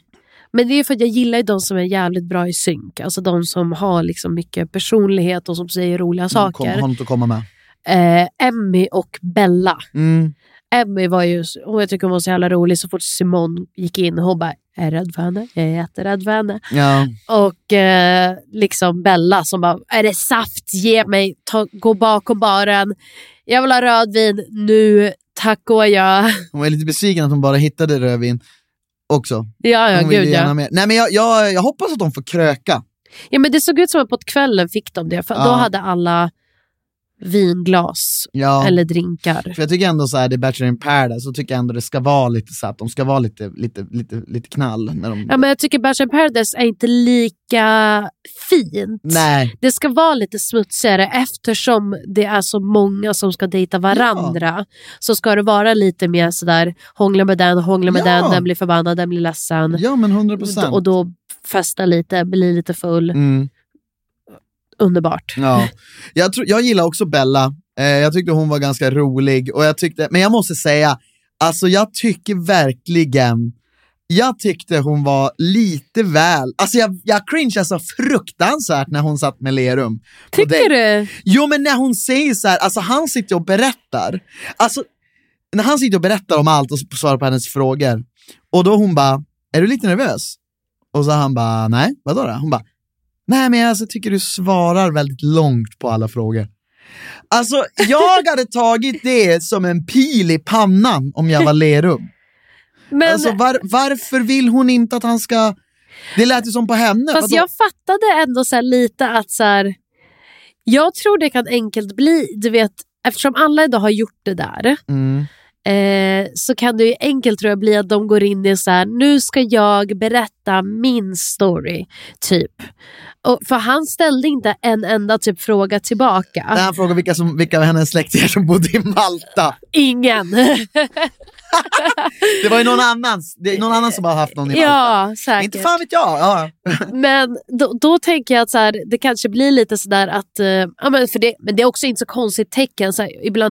E: Men det är för att jag gillar ju de som är jävligt bra i synk. Alltså de som har liksom mycket personlighet och som säger roliga
D: Mm, Kom,
E: saker.
D: har något att komma med.
E: Eh, Emmy och Bella.
D: Mm.
E: Emmy var ju, och jag tycker hon var så jävla rolig så fort Simon gick in. Hon bara, jag är rädd för henne, jag är jätterädd för henne.
D: Ja.
E: Och eh, liksom Bella som bara, är det saft? Ge mig, ta, gå bakom baren. Jag vill ha rödvin nu, tack och jag.
D: Hon var lite besviken att hon bara hittade rödvin också.
E: Ja, ja,
D: Hon ville
E: gud
D: gärna
E: ja.
D: mer. Nej, men jag, jag, jag hoppas att de får kröka.
E: ja men det såg ut som att på kvällen fick de det, för
D: Ja.
E: då hade alla vinglas
D: Ja.
E: eller drinkar.
D: För jag tycker ändå så här, det är Bachelor in paradise, så tycker jag ändå det ska vara lite så att de ska vara lite, lite, lite, lite knall. När de...
E: Ja, men jag tycker Bachelor in Paradise är inte lika fint.
D: Nej,
E: Det ska vara lite smutsigare eftersom det är så många som ska dejta varandra. Så ska det vara lite mer sådär, hångla med den, hångla med
D: Ja.
E: den, den blir förbannad, den blir ledsen.
D: ja men 100
E: Och-
D: procent.
E: Och då festa lite, bli lite full.
D: Mm,
E: Underbart.
D: ja. jag, tror, jag gillar också Bella. Eh, jag tyckte hon var ganska rolig. Och jag tyckte, men jag måste säga, alltså jag tycker verkligen jag tyckte hon var lite väl, alltså jag, jag cringeade så fruktansvärt när hon satt med Lerum. på dejt.
E: Tycker du?
D: Jo men när hon säger så här, alltså han sitter och berättar. Alltså, när han sitter och berättar om allt och s- svarar på hennes frågor. Och då hon bara, är du lite nervös? Och så han bara, nej, vadå då? Hon bara, nej men jag alltså, tycker du svarar väldigt långt på alla frågor. Alltså jag hade tagit det som en pil i pannan om jag var Lerum.
E: Men...
D: Alltså var, varför vill hon inte att han ska, det lät ju som på henne.
E: Fast
D: vadå?
E: jag fattade ändå så här lite att så här, jag tror det kan enkelt bli, du vet, eftersom alla idag har gjort det där
D: Mm.
E: eh, så kan det ju enkelt tror jag bli att de går in i så här, nu ska jag berätta min story, typ. Och, för han ställde inte en enda typ fråga tillbaka.
D: När han frågar vilka, som, vilka av hennes släktingar som bodde i Malta.
E: Ingen.
D: Det var ju någon annans, det är någon annan som har haft någon i Malta.
E: ja, säkert.
D: Inte fan vet jag. Ja.
E: Men då, då tänker jag att så här, det kanske blir lite sådär att... eh, ja, men, för det, men det är också inte så konstigt tecken. Så här, ibland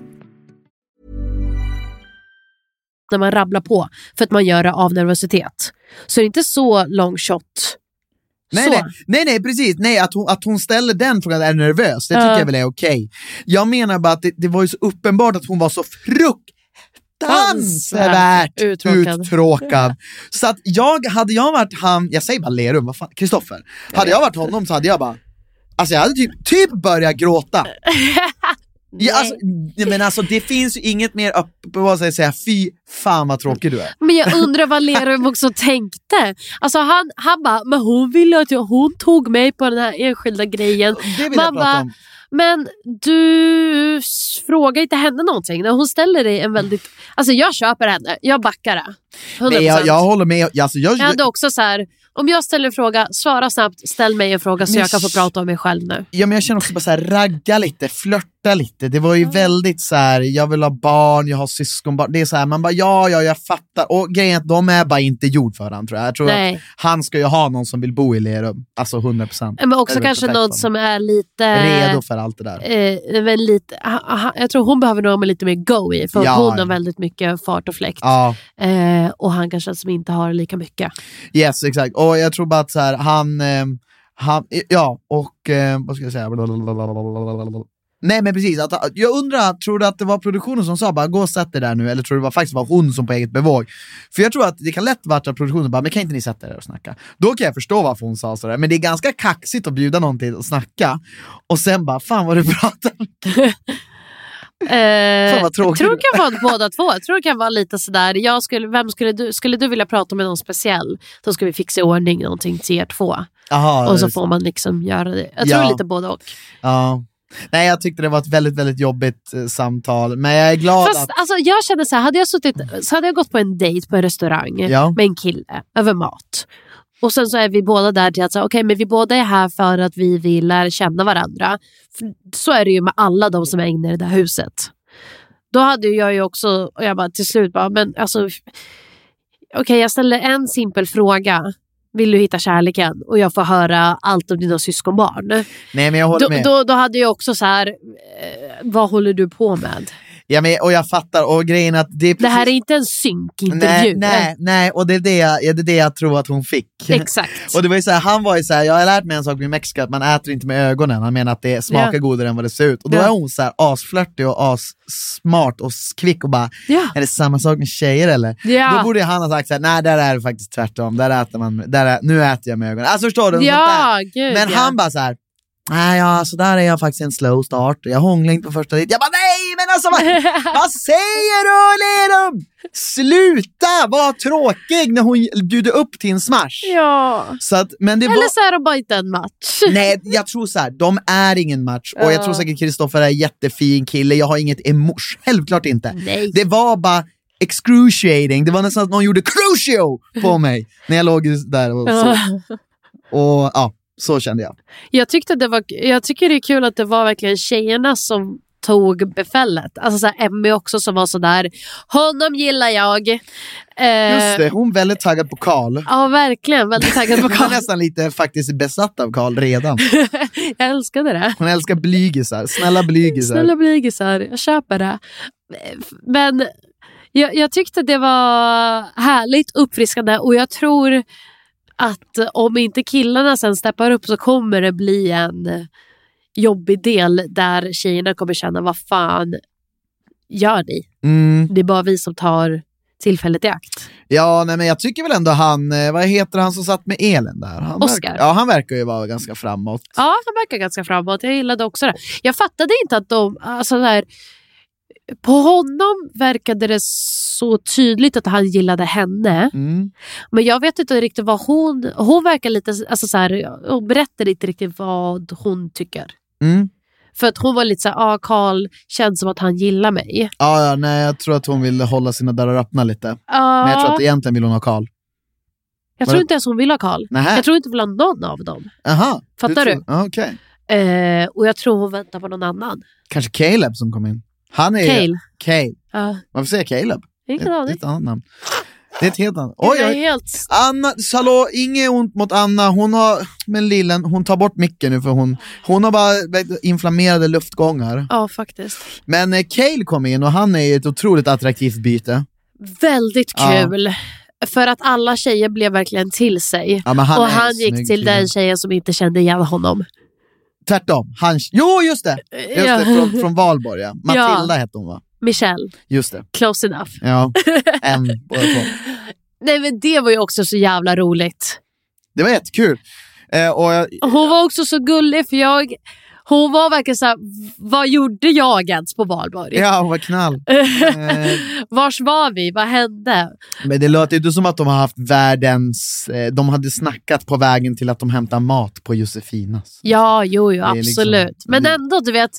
E: när man rabblar på för att man gör det av nervositet. Så det är inte så long shot.
D: Nej,
E: så.
D: nej, nej, nej, precis. Nej, att hon, att hon ställer den frågan, är du nervös? Det tycker
E: Ja.
D: jag väl är okej. Jag menar bara att det, det var ju så uppenbart att hon var så fruktansvärt
E: Uttråkad.
D: uttråkad. Så att jag, hade jag varit han, jag säger bara Lerum, vad fan, Kristoffer. Hade jag varit honom så hade jag bara, alltså jag hade typ, typ börjat gråta. Ja, alltså, nej, men alltså det finns ju inget mer uppenbart än att säga fy fan vad tråkig du är.
E: Men jag undrar vad Lerum också tänkte. Alltså han, han bara, men hon ville att jag, hon tog mig på den här enskilda grejen.
D: Det vill jag
E: Man
D: prata
E: bara,
D: om.
E: men du s- frågar inte henne någonting. När hon ställer dig en väldigt... Alltså jag köper henne, jag backar det. 100%.
D: Nej, jag, jag håller med, jag, alltså, jag,
E: Jag hade också så här, om jag ställer en fråga, svara snabbt, ställ mig en fråga så
D: Men
E: jag kan få
D: sh-
E: prata om mig själv nu.
D: Ja, men jag känner också bara så här, ragga lite, flörta lite. Det var ju väldigt så här, jag vill ha barn, jag har syskonbarn. Det är så här, man bara ja, ja, jag fattar. Och grejen är att de är bara inte gjord för han tror jag. jag tror att
E: Nej.
D: han ska ju ha någon som vill bo i Lerum, alltså 100 procent.
E: Men också
D: Eller
E: kanske
D: perfekt
E: någon
D: för
E: som är lite...
D: Redo för allt det där.
E: Eh, men lite, ha- ha- jag tror hon behöver någon med lite mer go i, för
D: Ja.
E: hon har väldigt mycket fart och fläkt.
D: Ja,
E: Eh, och han kanske som inte har lika mycket.
D: yes, exakt. Och jag tror bara att så här, han, ehm, han, ja, och eh, vad ska jag säga? Blablabla. Nej men precis, att, jag undrar, tror du att det var produktionen som sa bara gå och sätt dig där nu, eller tror du det var faktiskt var hon som på eget bevåg? För jag tror att det kan lätt vara att produktionen bara, men kan inte ni sätta er där och snacka? Då kan jag förstå varför hon sa sådär, men det är ganska kaxigt att bjuda någon till att snacka, och sen bara, fan vad du pratar om."
E: Eh,
D: Fan, vad tråkigt.
E: tror det kan vara båda två. Jag tror det kan vara lite sådär, jag skulle, vem skulle, du, skulle du vilja prata med någon speciell? Då ska vi fixa i ordning någonting till er två.
D: Jaha,
E: och
D: är
E: så
D: det
E: får man liksom göra det. Jag tror
D: Ja.
E: lite både och.
D: Ja. Nej jag tyckte det var ett väldigt, väldigt jobbigt eh, samtal, men jag är glad
E: Fast
D: att...
E: alltså, jag kände så här, hade jag suttit, så hade jag gått på en dejt på en restaurang
D: Ja.
E: med en kille över mat. Och sen så är vi båda där till att säga, okej men vi båda är här för att vi vill lära känna varandra. För så är det ju med alla de som är inne i det där huset. Då hade ju jag ju också, och jag bara till slut bara, men alltså okej jag ställer en simpel fråga. Vill du hitta kärleken? Och jag får höra allt om dina syskonbarn.
D: Nej men jag håller
E: Då,
D: med.
E: då, då hade jag också så här, eh, vad håller du på med?
D: Ja, men, och jag fattar, och grejen är att det är
E: Det här är
D: precis-
E: inte en
D: Nej,
E: synkintervju.
D: nej, nej, och det är det, jag, ja, det är det jag tror att hon fick.
E: Eh, Exakt.
D: Och det var ju så här, han var ju så här, jag har lärt mig en sak med Mexiko, att man äter inte med ögonen. Han menar att det smakar
E: Ja.
D: godare än vad det ser ut. Och då
E: Ja.
D: är hon så här asflörtig och assmart och s- kvick och bara,
E: Ja.
D: är det samma sak med tjejer eller?
E: Ah. Ja.
D: Då borde ju han ha sagt så här, nej där är det faktiskt tvärtom, där äter man, där är, nu äter jag med ögonen. Alltså förstår du?
E: ja, gud
D: Men
E: ja.
D: han bara så här. Nej, ja, så där är jag faktiskt en slow start. Jag hånglade inte på första dit. Jag bara nej, men alltså vad, vad säger du Lerum? Sluta vara tråkig när hon bjuder upp till en smash.
E: Ja.
D: Så att, men det
E: Eller
D: var...
E: så är de bara inte en match.
D: Nej, jag tror så här, de är ingen match. Och jag tror säkert Kristoffer är en jättefin kille. Jag har inget emot, självklart inte.
E: Nej.
D: Det var bara excruciating. Det var nästan att någon gjorde crucio på mig när jag låg där och så. Och ja, så kände jag.
E: Jag, tyckte det var, jag tycker det är kul att det var verkligen tjejerna som tog befälet. Alltså så här, Emmy också som var sådär, honom gillar jag. Eh,
D: Just det, hon är väldigt taggad på Karl.
E: Ja, verkligen. Väldigt taggad på
D: Hon är
E: Karl.
D: nästan lite faktiskt besatt av Karl redan.
E: jag älskade det.
D: Hon älskar blygisar, snälla blygisar.
E: Snälla blygisar, jag köper det. Men jag, jag tyckte det var härligt uppfriskande och jag tror att om inte killarna sen steppar upp så kommer det bli en jobbig del där tjejerna kommer känna vad fan gör ni?
D: Mm.
E: Det är bara vi som tar tillfället i akt.
D: Ja, nej, men jag tycker väl ändå han, eh, vad heter han som satt med Elin där? Han
E: Oscar.
D: Verkar, ja, han verkar ju vara ganska framåt.
E: Ja, han verkar ganska framåt. Jag gillade också det. Jag fattade inte att de... Alltså där, på honom verkade det så tydligt att han gillade henne.
D: Mm.
E: Men jag vet inte riktigt vad hon... Hon verkar lite... Alltså så här, hon berättar inte riktigt vad hon tycker.
D: Mm.
E: För att hon var lite så här, ja ah, Carl känns som att han gillar mig.
D: Ja, ja, nej, jag tror att hon vill hålla sina dörrar öppna lite. Men jag tror att egentligen vill hon ha Karl.
E: jag tror inte ens hon vill ha Carl.
D: Nähä,
E: Jag tror inte hon vill ha någon av dem.
D: aha.
E: Fattar du?
D: tror- Ja, Okej.
E: Eh, och jag tror hon väntar på någon annan.
D: Kanske Caleb som kom in. Han är
E: Cale.
D: Cale.
E: Ja,
D: Varför säger jag Caleb? Det
E: ingen
D: är ett,
E: aning.
D: ett annat namn. Det är ett helt annat. Oj,
E: Jag är
D: oj.
E: helt
D: Anna, hallå, inget ont mot Anna. Hon har, men lillen, hon tar bort micken nu för hon, hon har bara vet du, inflammerade luftgångar.
E: Ja, faktiskt.
D: Men eh, Cale kom in och han är ju ett otroligt attraktivt byte.
E: Väldigt
D: Ja.
E: kul. För att alla tjejer blev verkligen till sig.
D: Ja, men han
E: och
D: är
E: han
D: en
E: gick
D: snygg
E: till
D: kille.
E: den tjejen som inte kände igen honom.
D: Tvärtom. Han, jo, just det! Just
E: Ja.
D: det från, från Valborg, ja. Matilda
E: Ja.
D: hette hon, va?
E: Michelle,
D: Just det.
E: close enough.
D: Ja. en, båda två.
E: Nej men det var ju också så jävla roligt.
D: Det var jättekul. Eh, och jag,
E: Och Hon var också så gullig för jag, hon var verkligen såhär, vad gjorde jag ens på valborg?
D: ja, vad knall. Eh,
E: Vars var vi? Vad hände?
D: Men det låter ju inte som att de har haft världens... Eh, de hade snackat på vägen till att de hämtar mat på Josefinas.
E: Ja, jo, jo
D: är liksom-
E: absolut. Men
D: det-
E: ändå, du vet,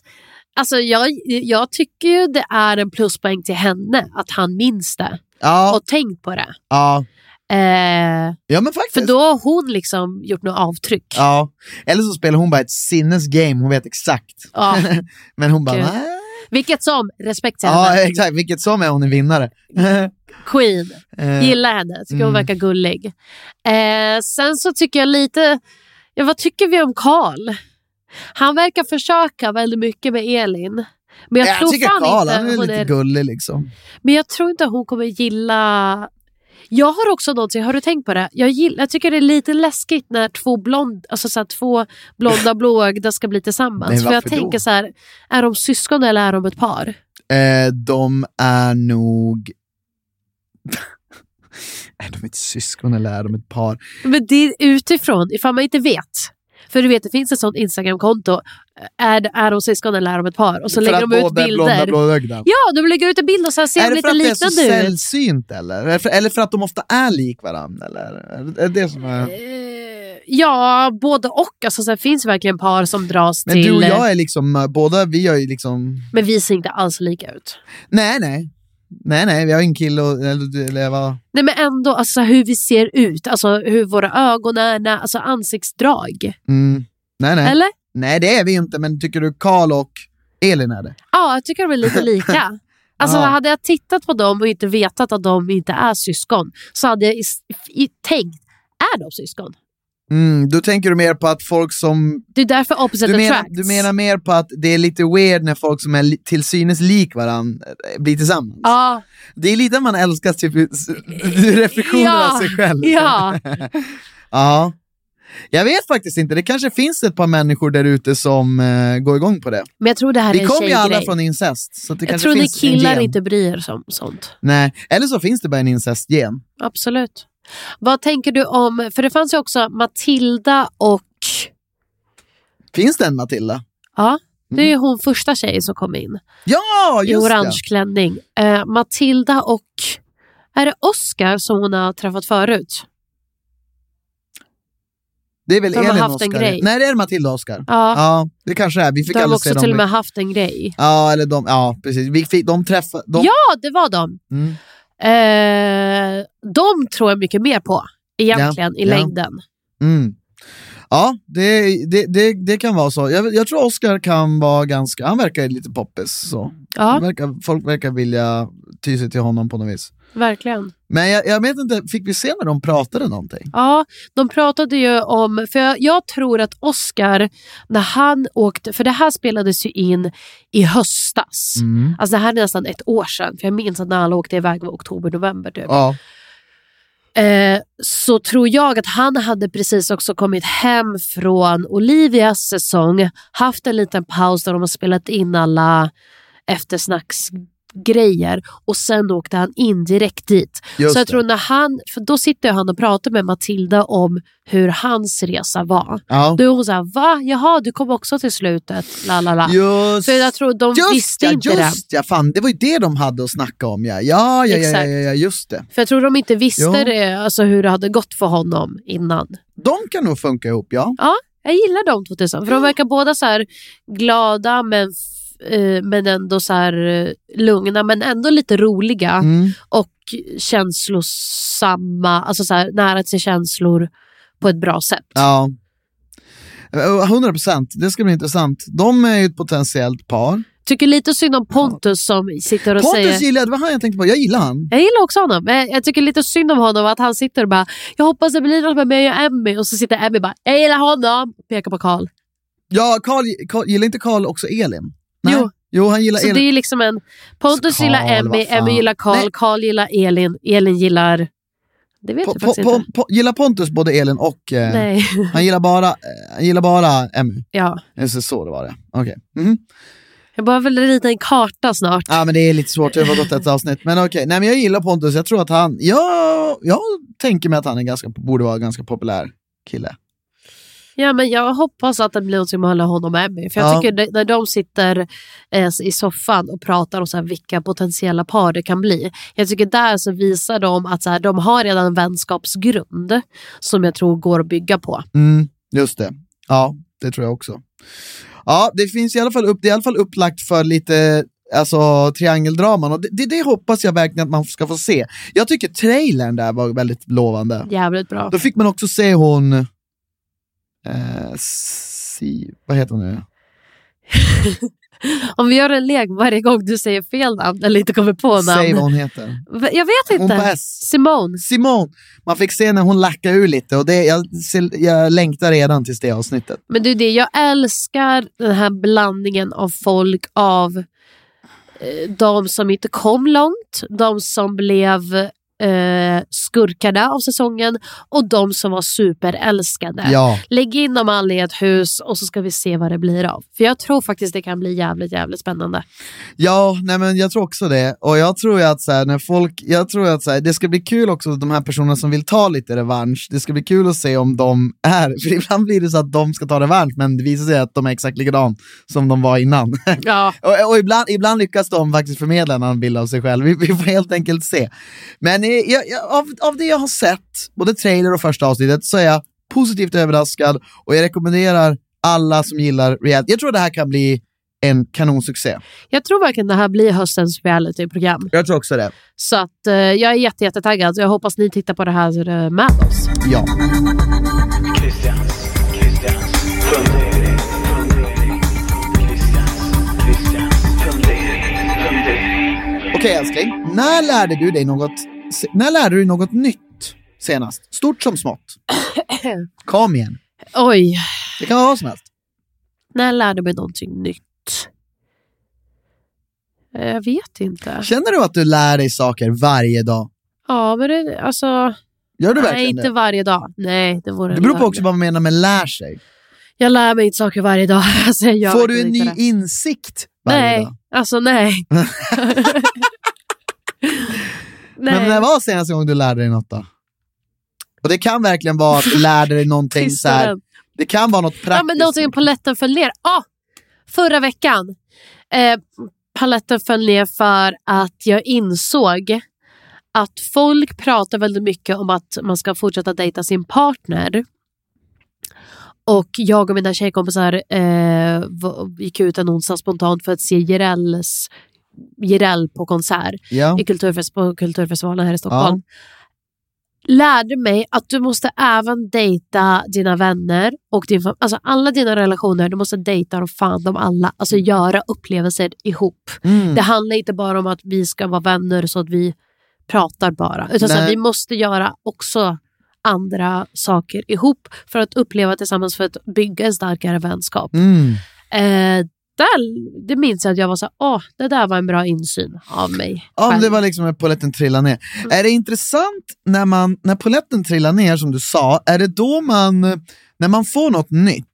E: alltså jag, jag tycker ju det är en pluspoäng till henne att han minns det
D: Ja,
E: och tänkt på det.
D: ja,
E: Eh,
D: ja men faktiskt.
E: för då har hon liksom gjort något avtryck.
D: Ja. Eller så spelar hon bara ett sinnes game, hon vet exakt.
E: Ja.
D: men hon bara...
E: Gud.
D: "Nej."
E: Vilket som, respekt till
D: Ja,
E: henne.
D: exakt. Vilket som är hon en vinnare.
E: Queen.
D: Eh,
E: Gillar henne, tycker hon
D: Mm.
E: verkar gullig. Eh, sen så tycker jag lite, ja, vad tycker vi om Karl? Han verkar försöka väldigt mycket med Elin. Men jag,
D: jag
E: tror
D: tycker
E: fan
D: Karl,
E: inte
D: han är
E: hon
D: lite
E: är,
D: gullig liksom.
E: Men jag tror inte hon kommer gilla... Jag har också någonting, har du tänkt på det? Jag, gill, jag tycker det är lite läskigt när två, blond, alltså så här, två blonda blåögda ska bli tillsammans.
D: Nej,
E: För jag
D: varför då?
E: tänker så här, är de syskon eller är de ett par?
D: Eh, de är nog... är de ett syskon eller är de ett par?
E: Men det är utifrån, ifall man inte vet. För du vet, det finns ett sånt Instagram-konto. Är, är de syskon eller är de ett par? Och så
D: För
E: lägger
D: att
E: de ut
D: båda är
E: bilder.
D: Blonda, blåögda.
E: Ja, de lägger ut en bild och sen ser
D: är
E: de
D: det för
E: lite
D: att det är så
E: liknande ut.
D: sällsynt eller? Är det för, eller för att de ofta är lik varandra? Eller? Är det- Är det det som är...
E: Eh, Ja, både och. Alltså, sen finns det verkligen par som dras
D: Men
E: till...
D: du och jag är liksom, eh, båda vi har ju liksom...
E: Men vi ser inte alls lika ut.
D: Nej, nej. Nej, nej, vi har en kille och... Eller, du- eller vad?
E: Nej men ändå, alltså, hur vi ser ut, alltså, hur våra ögon är, när, alltså ansiktsdrag.
D: Mm. Nej, nej.
E: Eller?
D: Nej, det är vi ju inte, men tycker du Karl och Elin är det?
E: Ja, jag tycker de är lite lika. Alltså,
D: Ja.
E: Hade jag tittat på dem och inte vetat att de inte är syskon så hade jag is- i- tänkt, är de syskon?
D: Mm, då tänker du mer på att folk som...
E: Det är därför opposite
D: Du menar,
E: attracts.
D: du menar mer på att det är lite weird när folk som är li- till synes lik varandra eh, blir tillsammans?
E: Ja,
D: Det är lite att man älskar typ, s- reflektioner
E: Ja,
D: av sig själv.
E: ja.
D: ja. Jag vet faktiskt inte, det kanske finns ett par människor där ute som eh, går igång på det.
E: men jag tror det här är
D: Vi
E: en
D: kom ju alla
E: tjejgrej.
D: från incest. Så att det
E: Jag
D: kanske
E: tror ni
D: finns en
E: killar
D: gen.
E: inte bryr er om sånt.
D: Nej. Eller så finns det bara en incestgen.
E: Absolut. Vad tänker du om, för det fanns ju också Matilda och,
D: Finns det en Matilda?
E: ja, det är ju hon första tjejen som kom in.
D: Mm. Ja,
E: i
D: just
E: orange klänning. Eh, Matilda och är det Oscar som hon har träffat förut?
D: det. Det är väl
E: De har
D: Elin och
E: haft en
D: Oscar.
E: grej.
D: Nej, det är Matilda och Oscar.
E: Ja,
D: Ja, det kanske är. Vi fick
E: de har
D: aldrig se
E: också
D: dem.
E: till och med haft en grej.
D: Ja, eller de, ja, precis. Vi fick, de träffade... De,
E: Ja, det var de.
D: Mm.
E: Eh, de tror jag mycket mer på egentligen i
D: Ja, ja.
E: längden.
D: Mm. Ja, det, det, det, det kan vara så. Jag, jag tror Oscar kan vara ganska, han verkar lite poppis. Så. Han
E: Ja,
D: Verkar, folk verkar vilja ty sig till honom på något vis.
E: verkligen.
D: Men jag, jag vet inte, fick vi se när de pratade någonting?
E: Ja, de pratade ju om, för jag, jag tror att Oscar, när han åkte, för det här spelades ju in i höstas.
D: Mm.
E: Alltså det här är nästan ett år sedan, för jag minns att när alla åkte iväg var oktober, november typ.
D: Ja.
E: Eh, så tror jag att han hade precis också kommit hem från Olivias säsong, haft en liten paus där de har spelat in alla eftersnacksgrejer och sen åkte han in direkt dit.
D: Just
E: så jag
D: det.
E: tror när han, för då sitter han och pratar med Matilda om hur hans resa var.
D: Ja.
E: Då är hon såhär, va? Jaha, du kom också till slutet? La, la, la.
D: Just,
E: Så jag tror de
D: just
E: visste
D: ja,
E: inte
D: just,
E: det.
D: Ja, fan, det var ju det de hade att snacka om. Ja, ja, ja, ja, ja,
E: Exakt.
D: ja, ja just det.
E: För jag tror de inte visste
D: Ja.
E: det, alltså hur det hade gått för honom innan.
D: De kan nog funka ihop, ja.
E: Jag gillar de två tillsammans. För de verkar båda så här glada men, f- eh, men ändå så här eh, lugna men ändå lite roliga
D: Mm.
E: och känslosamma, alltså så här, nära till känslor på ett bra sätt.
D: Ja. Eh, 100 procent, det ska bli intressant. De är ju ett potentiellt par.
E: Tycker lite synd om Pontus som sitter och
D: Pontus
E: säger
D: gillar jag, det var han jag tänkte på, jag gillar han.
E: jag gillar också honom, men jag tycker lite synd om honom att han sitter och bara “Jag hoppas det blir något med mig och Emmy” och så sitter Emmy bara “Jag gillar honom” och pekar på Karl.
D: Ja, Carl, Carl, gillar inte Carl också Elin?
E: Jo.
D: jo, han gillar
E: Så det
D: Elin.
E: är liksom en... Pontus
D: Karl,
E: gillar Emmy,
D: vad fan.
E: Emmy gillar Karl,
D: Nej.
E: Karl gillar Elin, Elin gillar... Det vet
D: Po,
E: jag
D: po,
E: faktiskt
D: po,
E: inte.
D: po, gillar Pontus både Elin och... Eh,
E: Nej,
D: Han gillar bara, eh, han gillar bara Emmy.
E: ja.
D: Just det, Så det var det. Okej. Mhm.
E: Jag behöver väl rita en karta snart.
D: Ja, men det är lite svårt, det har gått ett avsnitt. Men okej, nej men jag gillar Pontus, jag tror att han... Jag, jag tänker mig att han är ganska, borde vara en ganska populär kille.
E: Ja, men jag hoppas att det blir något som håller honom och Emmy. För jag
D: Ja.
E: tycker det, när de sitter eh, i soffan och pratar om så här, vilka potentiella par det kan bli. Jag tycker där så visar de att så här, de har redan en vänskapsgrund som jag tror går att bygga på.
D: Mm, just det. Ja, det tror jag också. Ja, det finns i alla fall upp, det är i alla fall upplagt för lite alltså, triangeldraman och det, det, det hoppas jag verkligen att man ska få se. Jag tycker trailern där var väldigt lovande.
E: Jävligt bra.
D: Då fick man också se hon... Eh, si, vad heter hon nu?
E: Om vi gör en lek varje gång du säger fel namn eller inte kommer på
D: Säg vad
E: namn.
D: hon heter.
E: V- Jag
D: Hon
E: vet
D: på
E: inte.
D: S.
E: Simone.
D: Simon, man fick se när hon lackade ur lite och det, jag, ser- jag längtar redan tills det avsnittet.
E: Men du, det, jag älskar den här blandningen av folk av eh, de som inte kom långt, de som blev eh, skurkarna av säsongen och de som var superälskade.
D: Ja,
E: Lägg in dem alla i ett hus och så ska vi se vad det blir av. För jag tror faktiskt det kan bli jävligt, jävligt spännande.
D: ja nej men jag tror också det. Och jag tror ju att, så här, när folk, jag tror ju att så här, det ska bli kul också, de här personerna som vill ta lite revansch, det ska bli kul att se om de är, för ibland blir det så att de ska ta revansch men det visar sig att de är exakt likadan som de var innan.
E: Ja.
D: Och, och ibland, ibland lyckas de faktiskt förmedla en annan bild av sig själv. Vi, vi får helt enkelt se. Men eh, jag, jag, av, av det jag har sett, både trailer och första avsnittet, så är jag positivt överraskad och jag rekommenderar alla som gillar reality. Jag tror det här kan bli en kanonsuccé.
E: Jag tror verkligen det här blir höstens realityprogram.
D: Jag tror också det.
E: Så att, eh, jag är jätte, jättetaggad. Jag hoppas ni tittar på det här eh, med oss.
D: Ja. Okej älskling, när lärde du dig något, se- när lärde du dig något nytt senast? Stort som smått. Kom igen,
E: Oj,
D: det kan vara vad som helst.
E: när jag lärde mig någonting nytt? Eh, Jag vet inte.
D: Känner du att du lär dig saker varje dag?
E: Ja, men det, alltså...
D: Gör du
E: nej,
D: verkligen
E: inte
D: det?
E: varje dag. Nej, det vore
D: Det beror på
E: lögn.
D: också vad man menar med lär sig.
E: Jag lär mig inte saker varje dag. Alltså, jag gör
D: Får du en
E: verkligen
D: ny
E: inte det.
D: insikt varje
E: Nej,
D: dag?
E: alltså nej. nej.
D: Men när var senaste gången du lärde dig något då? Och det kan verkligen vara att du lärde dig någonting så
E: Tysta
D: här.
E: den.
D: Det kan vara något praktiskt.
E: Ja, men någonting paletten föll ner. Ah, förra veckan. Eh, paletten föll ner för att jag insåg att folk pratar väldigt mycket om att man ska fortsätta dejta sin partner. Och jag och mina tjejkompisar eh, v- gick ut en onsdag spontant för att se Jirelles Jireel på konsert
D: Ja.
E: i kulturfest, på Kulturfestivalen här i Stockholm. lärde mig att du måste även dejta dina vänner och din fam- alltså alla dina relationer. Du måste dejta dem, fan dem alla. Alltså
D: Mm.
E: göra upplevelser ihop. Det handlar inte bara om att vi ska vara vänner så att vi pratar bara. Utan så att
D: Nej.
E: vi måste göra också andra saker ihop för att uppleva tillsammans för att bygga en starkare vänskap.
D: Mm.
E: Eh, där, det minns jag att jag var så här, åh, det där var en bra insyn av mig.
D: Om
E: själv."
D: det var liksom när poletten trillade ner.
E: Mm.
D: Är det intressant när, man, när poletten trillar ner, som du sa, är det då man, när man får något nytt?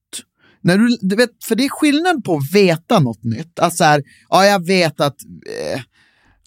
D: När du, du vet, för det är skillnad på att veta något nytt. Alltså här, ja, jag vet att... Eh,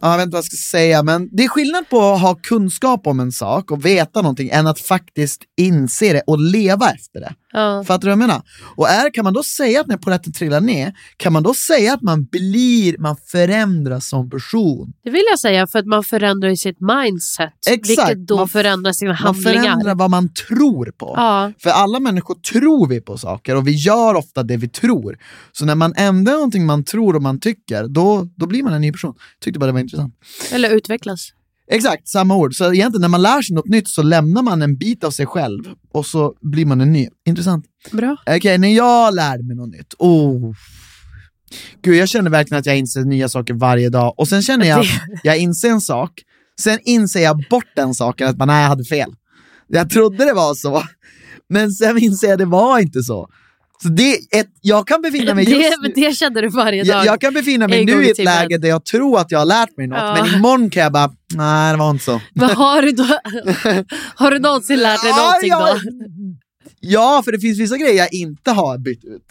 D: ja, jag vet inte vad jag ska säga, men det är skillnad på att ha kunskap om en sak och veta någonting än att faktiskt inse det och leva efter det.
E: Ja.
D: Fattar du vad jag menar? Och är, kan man då säga att när poletten trillar ner, kan man då säga att man blir, man förändras som person?
E: Det vill jag säga, för att man förändrar ju sitt mindset.
D: Exakt.
E: Vilket då
D: Man f-
E: förändrar sina
D: Man
E: handlingar.
D: förändrar vad man tror på.
E: Ja.
D: För alla människor tror vi på saker och vi gör ofta det vi tror. Så när man ändrar någonting man tror och man tycker, då, då blir man en ny person. Tyckte bara det var intressant.
E: Eller utvecklas.
D: Exakt, samma ord. Så egentligen när man lär sig något nytt så lämnar man en bit av sig själv och så blir man en ny. Intressant.
E: Bra.
D: Okej, när jag lärde mig något nytt. Oh. Gud, jag känner verkligen att jag inser nya saker varje dag. Och sen känner jag att jag inser en sak, sen inser jag bort den saken, att man, nej, jag hade fel. Jag trodde det var så, men sen inser jag att det var inte så. Så det, är ett, jag kan befinna mig just nu,
E: Det, det kände du varje dag.
D: jag, jag kan befinna mig
E: en gång
D: nu
E: i
D: i ett
E: timmen.
D: läge där jag tror att jag har lärt mig något,
E: Ja.
D: men imorgon kan jag bara, nej, det var inte så.
E: Men har du, då, har du någonsin lärt dig
D: Ja,
E: någonting
D: jag-
E: då?
D: Ja, för det finns vissa grejer jag inte har bytt ut.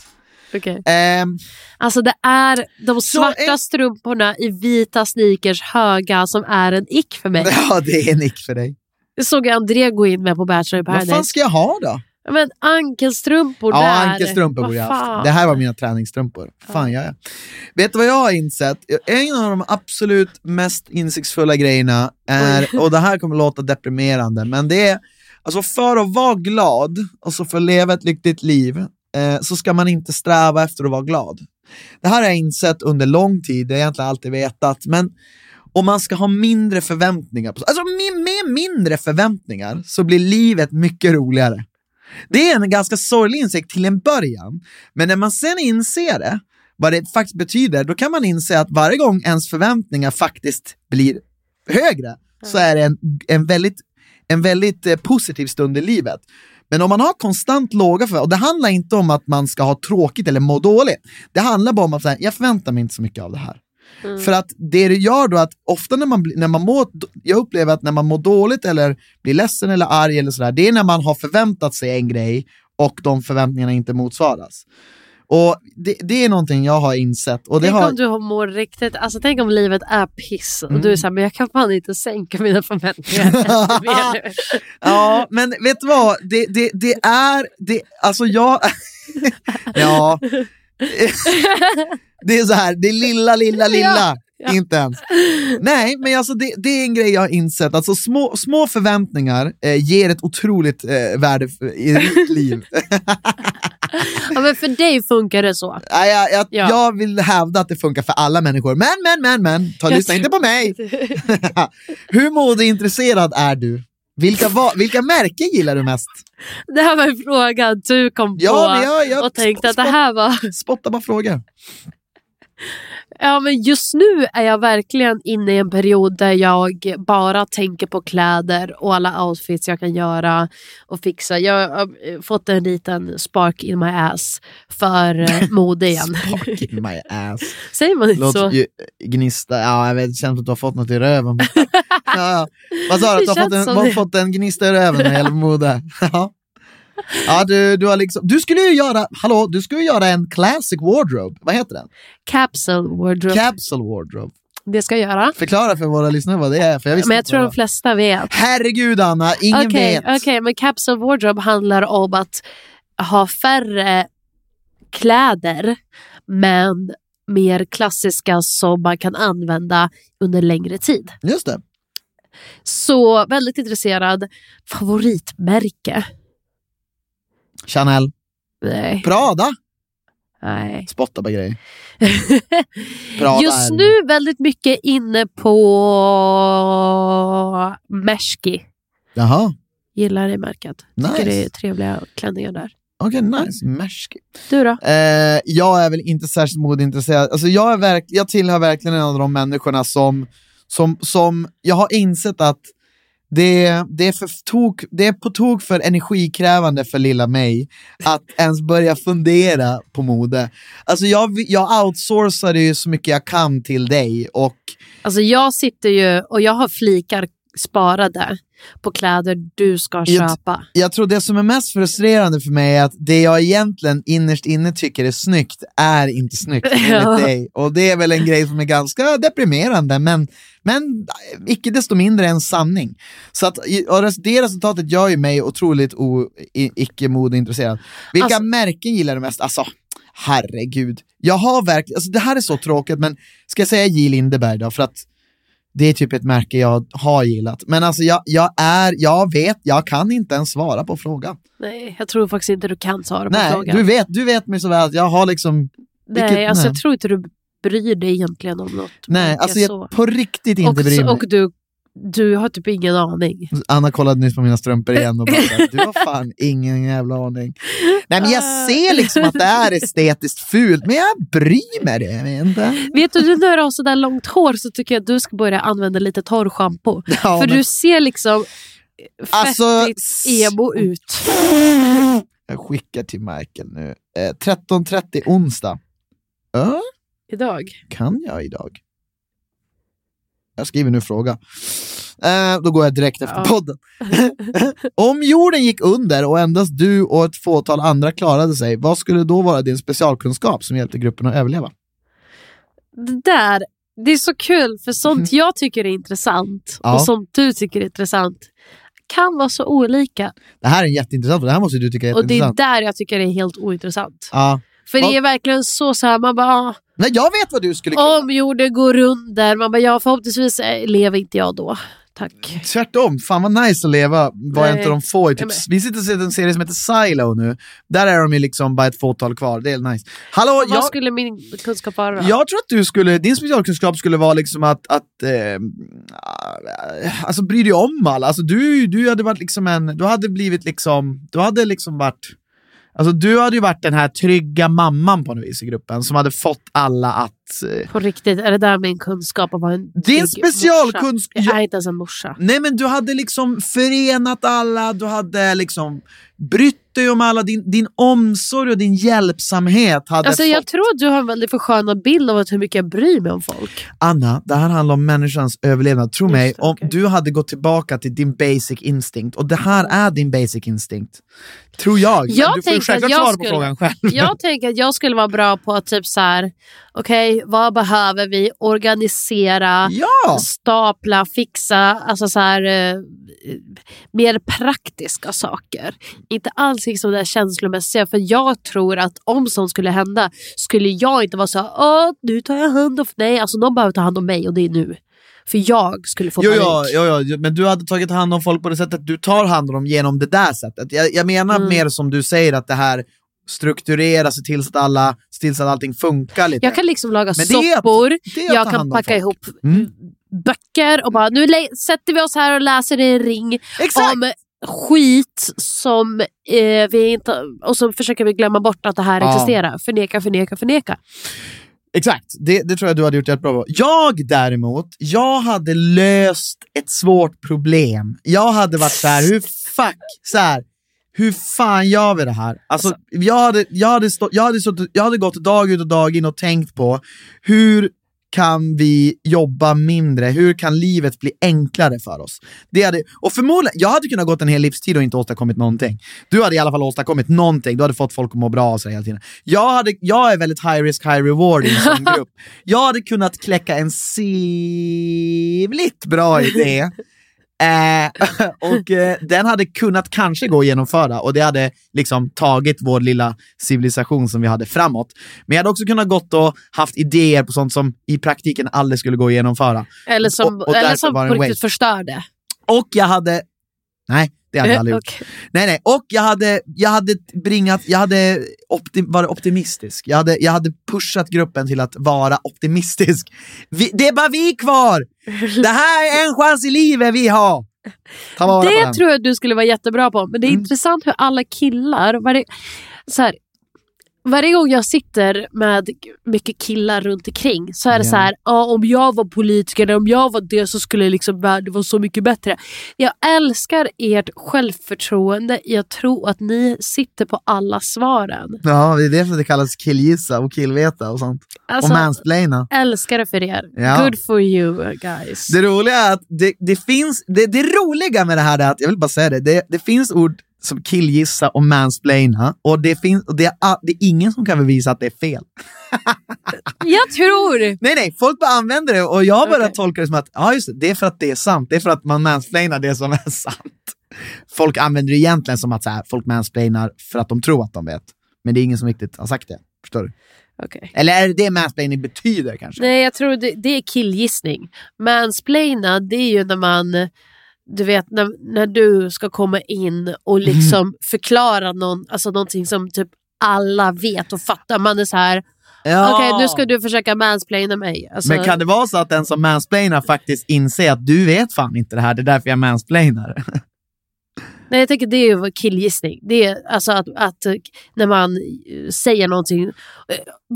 E: Okej.
D: Ehm,
E: Alltså det är de svarta
D: en-
E: strumporna i vita sneakers höga som är en ick för mig.
D: ja, det är en nick för dig.
E: Det såg jag André gå in med på Bachelor i
D: Vad
E: Paradise.
D: fan ska jag ha då?
E: Men ankelstrumpor
D: Ja,
E: där.
D: ankelstrumpor
E: Vad
D: borde jag
E: fan.
D: haft. Det här var mina träningsstrumpor. Fan, ja. Ja, Vet du vad jag har insett? En av de absolut mest insiktsfulla grejerna är, och det här kommer låta deprimerande, men det är alltså för att vara glad och så för att leva ett lyckligt liv eh, så ska man inte sträva efter att vara glad. Det här har jag insett under lång tid, det har jag egentligen alltid vetat, men om man ska ha mindre förväntningar, på, alltså med, med mindre förväntningar så blir livet mycket roligare. Det är en ganska sorglig insikt till en början, men när man sen inser det, vad det faktiskt betyder, då kan man inse att varje gång ens förväntningar faktiskt blir högre så är det en, en väldigt, en väldigt eh, positiv stund i livet. Men om man har konstant låga förväntningar, och det handlar inte om att man ska ha tråkigt eller må dåligt, det handlar bara om att så här, jag förväntar mig inte så mycket av det här.
E: Mm.
D: För att det det gör då att ofta när man, bli- när man mår, jag upplever att när man mår dåligt eller blir ledsen eller arg eller sådär, det är när man har förväntat sig en grej och de förväntningarna inte motsvaras. Och det, det är någonting jag har insett. Och det
E: Tänk
D: har...
E: om du har- mår riktigt, alltså tänk om livet är piss och
D: Mm.
E: du är såhär, men jag kan fan inte sänka mina förväntningar ännu mer nu.
D: Ja, men vet du vad? Det, det, det är... Det, alltså jag... ja. det är så här, det är lilla, lilla, lilla.
E: ja.
D: Inte ens. Nej, men alltså det, det är en grej jag har insett. Alltså små, små förväntningar eh, ger ett otroligt eh, värde f- i mitt liv.
E: Ja, men för dig funkar det så.
D: Nej, jag, jag,
E: Ja.
D: jag vill hävda att det funkar för alla människor. Men, men, men, men. Ta,
E: Jag
D: lyssna
E: tror-
D: inte på mig. Hur modeintresserad är du? Vilka, va, vilka märken gillar du mest?
E: Det här var en fråga du kom
D: Ja,
E: på
D: men jag, jag
E: och tänkte att det
D: spott-
E: här var...
D: Spotta bara frågor.
E: Ja, men just nu är jag verkligen inne i en period där jag bara tänker på kläder och alla outfits jag kan göra och fixa. Jag har eh, fått en liten spark in my ass för eh, mode igen.
D: Spark in my ass.
E: Säger man inte så?
D: Låter ju, gnista, ja jag vet, det känns som att du har fått något i röven. ja, ja. Vad sa du?
E: Det
D: Att Du har fått
E: känns
D: en,
E: som
D: vad-
E: det.
D: fått en gnista i röven när det gäller mode. Ja. Ja, du, du, har liksom, du skulle ju göra, hallå, du skulle ju göra en classic wardrobe. Vad heter den?
E: Capsule wardrobe.
D: Capsule wardrobe.
E: det ska jag göra.
D: Förklara för våra lyssnare vad det är. För jag visste
E: Men jag
D: inte
E: tror
D: vad
E: de
D: det
E: flesta vet.
D: var. Herregud Anna, ingen
E: Okej,
D: vet.
E: okej, men capsule wardrobe handlar om att ha färre kläder men mer klassiska som man kan använda under längre tid.
D: Just det.
E: Så väldigt intresserad. Favoritmärke?
D: Chanel.
E: Nej.
D: Prada.
E: nej.
D: Spotta på grejer. Prada
E: Just
D: är-
E: nu väldigt mycket inne på Merski.
D: Jaha.
E: Gillar det märket.
D: Nice.
E: Tycker det är trevliga klänningar där.
D: Okej, nice. Mersk.
E: Du då?
D: Eh, jag är väl inte särskilt modeintresserad. Alltså, jag, är verk- jag tillhör verkligen en av de människorna som, som, som jag har insett att det, det, är för tok, det är på tok för energikrävande för lilla mig att ens börja fundera på mode. Alltså jag, vi- jag outsourcar det ju så mycket jag kan till dig och
E: Alltså jag sitter ju och jag har flikar sparade på kläder du ska
D: Jag-
E: köpa.
D: jag tror det som är mest frustrerande för mig är att det jag egentligen innerst inne tycker är snyggt är inte snyggt enligt
E: Ja.
D: dig. Och det är väl en grej som är ganska deprimerande, men, men icke desto mindre en sanning. Så att, och res- det resultatet gör ju mig otroligt o, i, icke modeintresserad. Vilka
E: Alltså-
D: märken gillar du mest? Alltså, herregud. Jag har verkligen, alltså det här är så tråkigt, men ska jag säga J. Lindeberg då? För att det är typ ett märke jag har gillat. Men alltså jag, jag är, jag vet, jag kan inte ens svara på frågan.
E: Nej, jag tror faktiskt inte du kan svara på
D: Nej,
E: frågan.
D: du vet, du vet mig så väl att jag har liksom,
E: nej,
D: vilket-
E: alltså
D: nej.
E: jag tror inte du bryr dig egentligen om något.
D: nej,
E: märke
D: alltså
E: så.
D: jag på riktigt inte bryr
E: och,
D: mig. Alltså-
E: och du, du har typ ingen aning.
D: Anna kollade nyss på mina strumpor igen och bara, så här, du har fan ingen jävla aning. Nej men jag
E: Ah.
D: ser liksom att det är estetiskt fult, men jag bryr mig det. Jag vet inte.
E: Vet du, du när du har sådär långt hår så tycker jag att du ska börja använda lite torrschampo.
D: Ja,
E: För
D: men-
E: du ser liksom fettigt
D: Alltså,
E: emo ut.
D: Jag skickar till Michael nu. Eh, 13.30 onsdag. Ö?
E: Idag.
D: kan jag idag? Jag skriver nu fråga. Eh, då går jag direkt efter
E: Ja.
D: podden. Om jorden gick under och endast du och ett fåtal andra klarade sig, vad skulle då vara din specialkunskap som hjälpte gruppen att överleva?
E: Det där, det är så kul för sånt jag tycker är intressant
D: Mhm. Ja.
E: och sånt du tycker är intressant kan vara så olika.
D: Det här är jätteintressant, och det här måste du tycka är
E: Och det är
D: jätteintressant.
E: där jag tycker det är helt ointressant.
D: Ja.
E: För det
D: Ja.
E: är verkligen så så här, man bara ah,
D: Nej, jag vet vad du skulle kunna.
E: om jorden går under, man bara ja förhoppningsvis eh, lever inte jag då. Tack.
D: Tvärtom, fan vad nice att leva var
E: Nej.
D: inte de få i typ.
E: Nej, men-
D: Vi sitter och ser en serie som heter Silo nu. Där är de ju liksom bara ett fåtal kvar, det är nice. Hallå,
E: Vad
D: jag...
E: skulle min kunskap vara då?
D: Jag tror att du skulle, din specialkunskap skulle vara liksom att, att eh, alltså bry dig om alla. Alltså du, du hade varit liksom en, du hade blivit liksom, du hade liksom varit, alltså du hade ju varit den här trygga mamman på något vis i gruppen som hade fått alla att eh,
E: På riktigt, är det där min kunskap att vara en
D: Din
E: trygg morsa?
D: specialkunsk-
E: Jag är inte ens en morsa.
D: Nej men du hade liksom förenat alla, du hade liksom brytt dig om alla, din, din omsorg och din hjälpsamhet hade
E: Alltså,
D: fått...
E: jag tror att du har en väldigt förskönad bild av att hur mycket jag bryr mig om folk.
D: Anna, det här handlar om människans överlevnad. Tro
E: Just
D: mig,
E: det,
D: om
E: okej.
D: du hade gått tillbaka till din basic instinct, och det här är din basic instinct. Tror jag. Men
E: Jag
D: du får ju
E: tänker
D: självklart
E: att jag
D: svara på
E: skulle-
D: frågan själv.
E: Jag tänker att jag skulle vara bra på att typ så här, okej, vad behöver vi? Organisera,
D: Ja!
E: stapla, fixa, alltså så här, eh, mer praktiska saker. Inte alls liksom det här känslomässiga, för jag tror att om sånt skulle hända skulle jag inte vara så här, Åh, nu tar jag hand om, nej, alltså någon behöver ta hand om mig och det är nu. För jag skulle få
D: Jo,
E: panik.
D: ja, ja, ja, men du hade tagit hand om folk på det sättet du tar hand om dem genom det där sättet. Jag, jag menar
E: Mm.
D: mer som du säger att det här strukturera, se till så att alla, se till så att allting funkar lite.
E: Jag kan liksom laga
D: Men det är att-
E: soppor,
D: det är att
E: jag
D: ta
E: kan
D: hand om folk.
E: packa ihop
D: Mm.
E: böcker och bara nu lä- sätter vi oss här och läser i en ring
D: Exakt!
E: om skit som eh, vi inte... Och så försöker vi glömma bort att det här
D: Ja.
E: existerar. Förneka, förneka, förneka.
D: Exakt, det, det tror jag du hade gjort rätt bra på. Jag däremot, jag hade löst ett svårt problem. Jag hade varit så här, hur fuck, så här, hur fan gör vi det här? Alltså, jag, hade, jag, hade stå, jag, hade stått, jag hade gått dag ut och dag in och tänkt på hur kan vi jobba mindre? Hur kan livet bli enklare för oss? Det hade, och förmodligen, jag hade kunnat gått en hel livstid och inte åstadkommit någonting. Du hade i alla fall åstadkommit någonting. Du hade fått folk att må bra av sig hela tiden. Jag, hade, jag är väldigt high risk, high reward i en sån grupp. Jag hade kunnat kläcka en sivligt bra idé. Eh, och eh, den hade kunnat kanske gå att genomföra och det hade liksom tagit vår lilla civilisation som vi hade framåt. Men jag hade också kunnat gått och haft idéer på sånt som i praktiken aldrig skulle gå att genomföra.
E: Eller som,
D: Och- och
E: eller
D: därför
E: som på
D: var det en
E: riktigt
D: waste.
E: förstörde.
D: Och jag hade... Nej, det hade jag aldrig
E: Eh,
D: gjort.
E: okej.
D: Nej, nej. Och jag hade, jag hade bringat, jag hade opti- varit optimistisk. Jag hade, jag hade pushat gruppen till att vara optimistisk. Vi, det är bara vi kvar! Det här är en chans i livet vi har! Ta vara på
E: Det
D: den. Mm.
E: tror jag du skulle vara jättebra på. Men det är intressant hur alla killar... Varje, så här, varje gång jag sitter med mycket killar runt omkring så är det
D: Ja.
E: så här, ja, om jag var politiker eller om jag var det så skulle liksom, världen vara så mycket bättre. Jag älskar ert självförtroende. Jag tror att ni sitter på alla svaren.
D: Ja, det är därför det kallas killgissa och killveta och sånt.
E: Alltså,
D: och mansplaina.
E: älskar det för er.
D: Ja.
E: Good for you guys.
D: Det roliga är att det, det finns, det, det roliga med det här är att, jag vill bara säga det, det, det finns ord som killgissa och mansplaina och det finns, och det är, a- det är ingen som kan bevisa att det är fel.
E: Jag tror...
D: Nej, nej, folk bara använder det och jag har börjat
E: Okej.
D: tolka det som att, ja just det, det är för att det är sant, det är för att man mansplainar det som är sant. Folk använder det egentligen som att så här, folk mansplainar för att de tror att de vet, men det är ingen som riktigt har sagt det. Förstår du?
E: Okej.
D: Eller är det det mansplaining betyder kanske?
E: Nej, jag tror det, det är killgissning. Mansplaina, det är ju när man... Du vet, när, när du ska komma in
D: Mhm.
E: och liksom förklara någon, alltså någonting som typ alla vet och fattar. Man är så här,
D: Ja.
E: okej nu ska du försöka mansplaina mig. Alltså,
D: Men kan det vara så att den som mansplainar faktiskt inser att du vet fan inte det här, det är därför jag mansplainar?
E: Nej, jag tänker det är ju killgissning. Det är alltså att, att eh, när man eh, säger någonting. eh,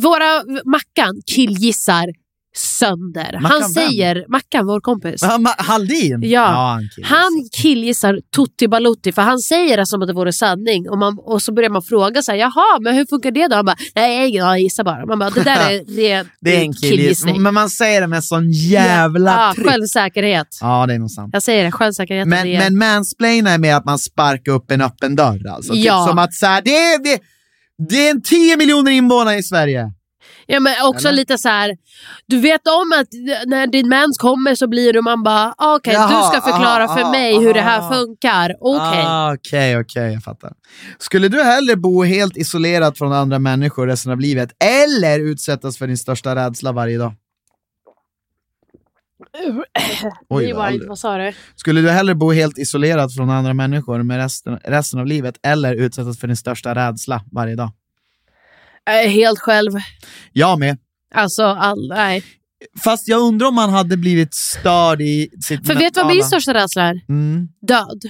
E: Våra Mackan killgissar sönder.
D: Mackan
E: Han
D: vem?
E: säger, Mackan, vår kompis.
D: Ja, Ma- Halldin?
E: Ja.
D: han, killar.
E: Han killgissar Tutti Balutti för han säger det som att det vore sanning och, man, och så börjar man fråga så här, jaha men hur funkar det då? Han bara, nej jag har ingen aning, jag gissar bara. Man bara, det där är ren
D: det är en killgissning. Men man säger det med sån jävla
E: ja,
D: tryck.
E: Självsäkerhet.
D: Ja, det är nog sant.
E: Jag säger det, självsäkerheten
D: Men,
E: är...
D: men mansplaina är mer att man sparkar upp en öppen dörr. Alltså.
E: Ja.
D: Typ som att så här, det, är, det, det är en 10 miljoner invånare i Sverige.
E: ja, men också
D: Eller?
E: lite så här, du vet om att när din mens kommer så blir du, man bara, ah, okej
D: Jaha,
E: du ska förklara
D: aha,
E: för
D: aha,
E: mig hur det här
D: aha.
E: funkar. Okej.
D: Ah, Okej, okej, jag fattar. Skulle du hellre bo helt isolerad från andra människor resten av livet eller utsättas för din största rädsla varje dag?
E: Uh,
D: Oj, vad
E: Rewind,
D: aldrig.
E: vad sa du?
D: Skulle du hellre bo helt isolerad från andra människor med resten, resten av livet eller utsättas för din största rädsla varje dag?
E: Jag är Eh, helt själv.
D: Jag med.
E: Alltså, all, nej.
D: Fast jag undrar om man hade blivit störd i sitt
E: För vet du vad min
D: mentala-
E: största rädsla är?
D: Mm.
E: död.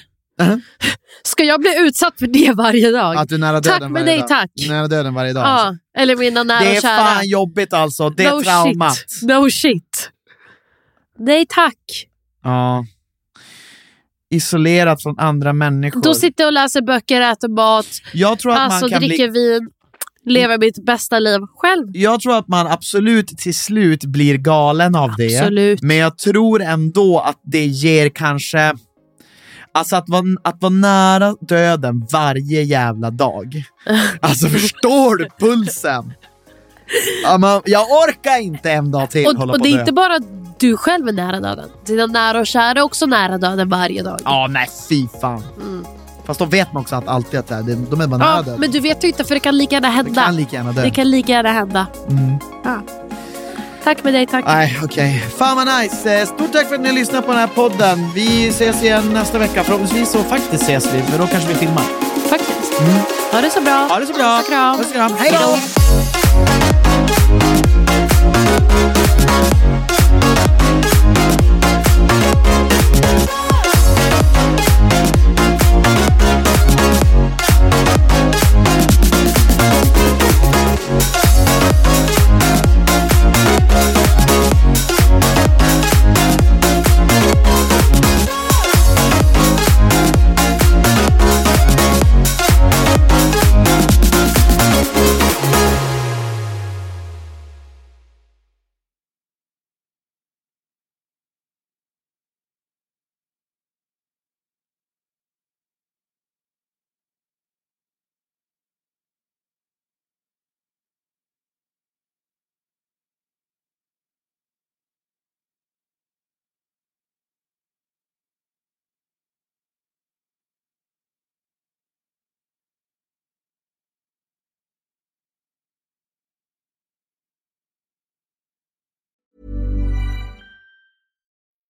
D: Mhm.
E: Ska jag bli utsatt för det varje dag?
D: Att du är nära
E: Tack,
D: döden
E: men
D: varje
E: nej,
D: dag.
E: tack.
D: Nära döden varje dag.
E: ja,
D: alltså.
E: eller mina nära
D: Det är
E: och kära.
D: fan jobbigt alltså. Det är
E: no
D: traumat.
E: Shit. No shit. Nej tack.
D: Ja. Isolerat från andra människor.
E: Då sitter jag och läser böcker, äter mat,
D: jag, tror att
E: alltså
D: man kan
E: dricker
D: bli,
E: vin, lever mitt bästa liv själv.
D: jag tror att man absolut till slut blir galen av det.
E: Absolut.
D: Men jag tror ändå att det ger kanske... Alltså att vara, att vara nära döden varje jävla dag. Alltså förstår du pulsen? Ja, man, jag orkar inte en dag till
E: Och,
D: hålla
E: och
D: på
E: det
D: och
E: är
D: dö.
E: inte bara du själv är nära döden. Dina nära och kära är också nära döden varje dag.
D: Ja, nej fy fan. Fast då vet man också att alltid att det är- de är bara nära
E: Mm. Ja,
D: döden.
E: men du vet ju inte för det kan lika gärna hända.
D: Det kan lika gärna dö.
E: Det kan lika gärna hända.
D: Mm.
E: Ja. Tack med dig, tack.
D: Nej, okej. Fan vad nice. Eh, Stort tack för att ni har lyssnat på den här podden. Vi ses igen nästa vecka. Förhoppningsvis så faktiskt ses vi, för då kanske vi filmar.
E: Faktiskt. Ha det så bra.
D: Mm. Ha det så bra.
E: Puss och kram.
D: Puss och kram. Hej då!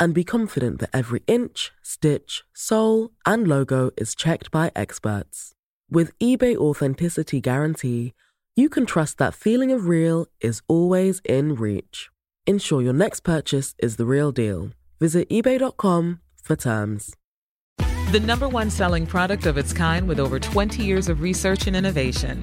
A: and be confident that every inch, stitch, sole, and logo is checked by experts. With eBay Authenticity Guarantee, you can trust that feeling of real is always in reach. Ensure your next purchase is the real deal. Visit eBay.com for terms.
B: The number one selling product of its kind with over 20 years of research and innovation.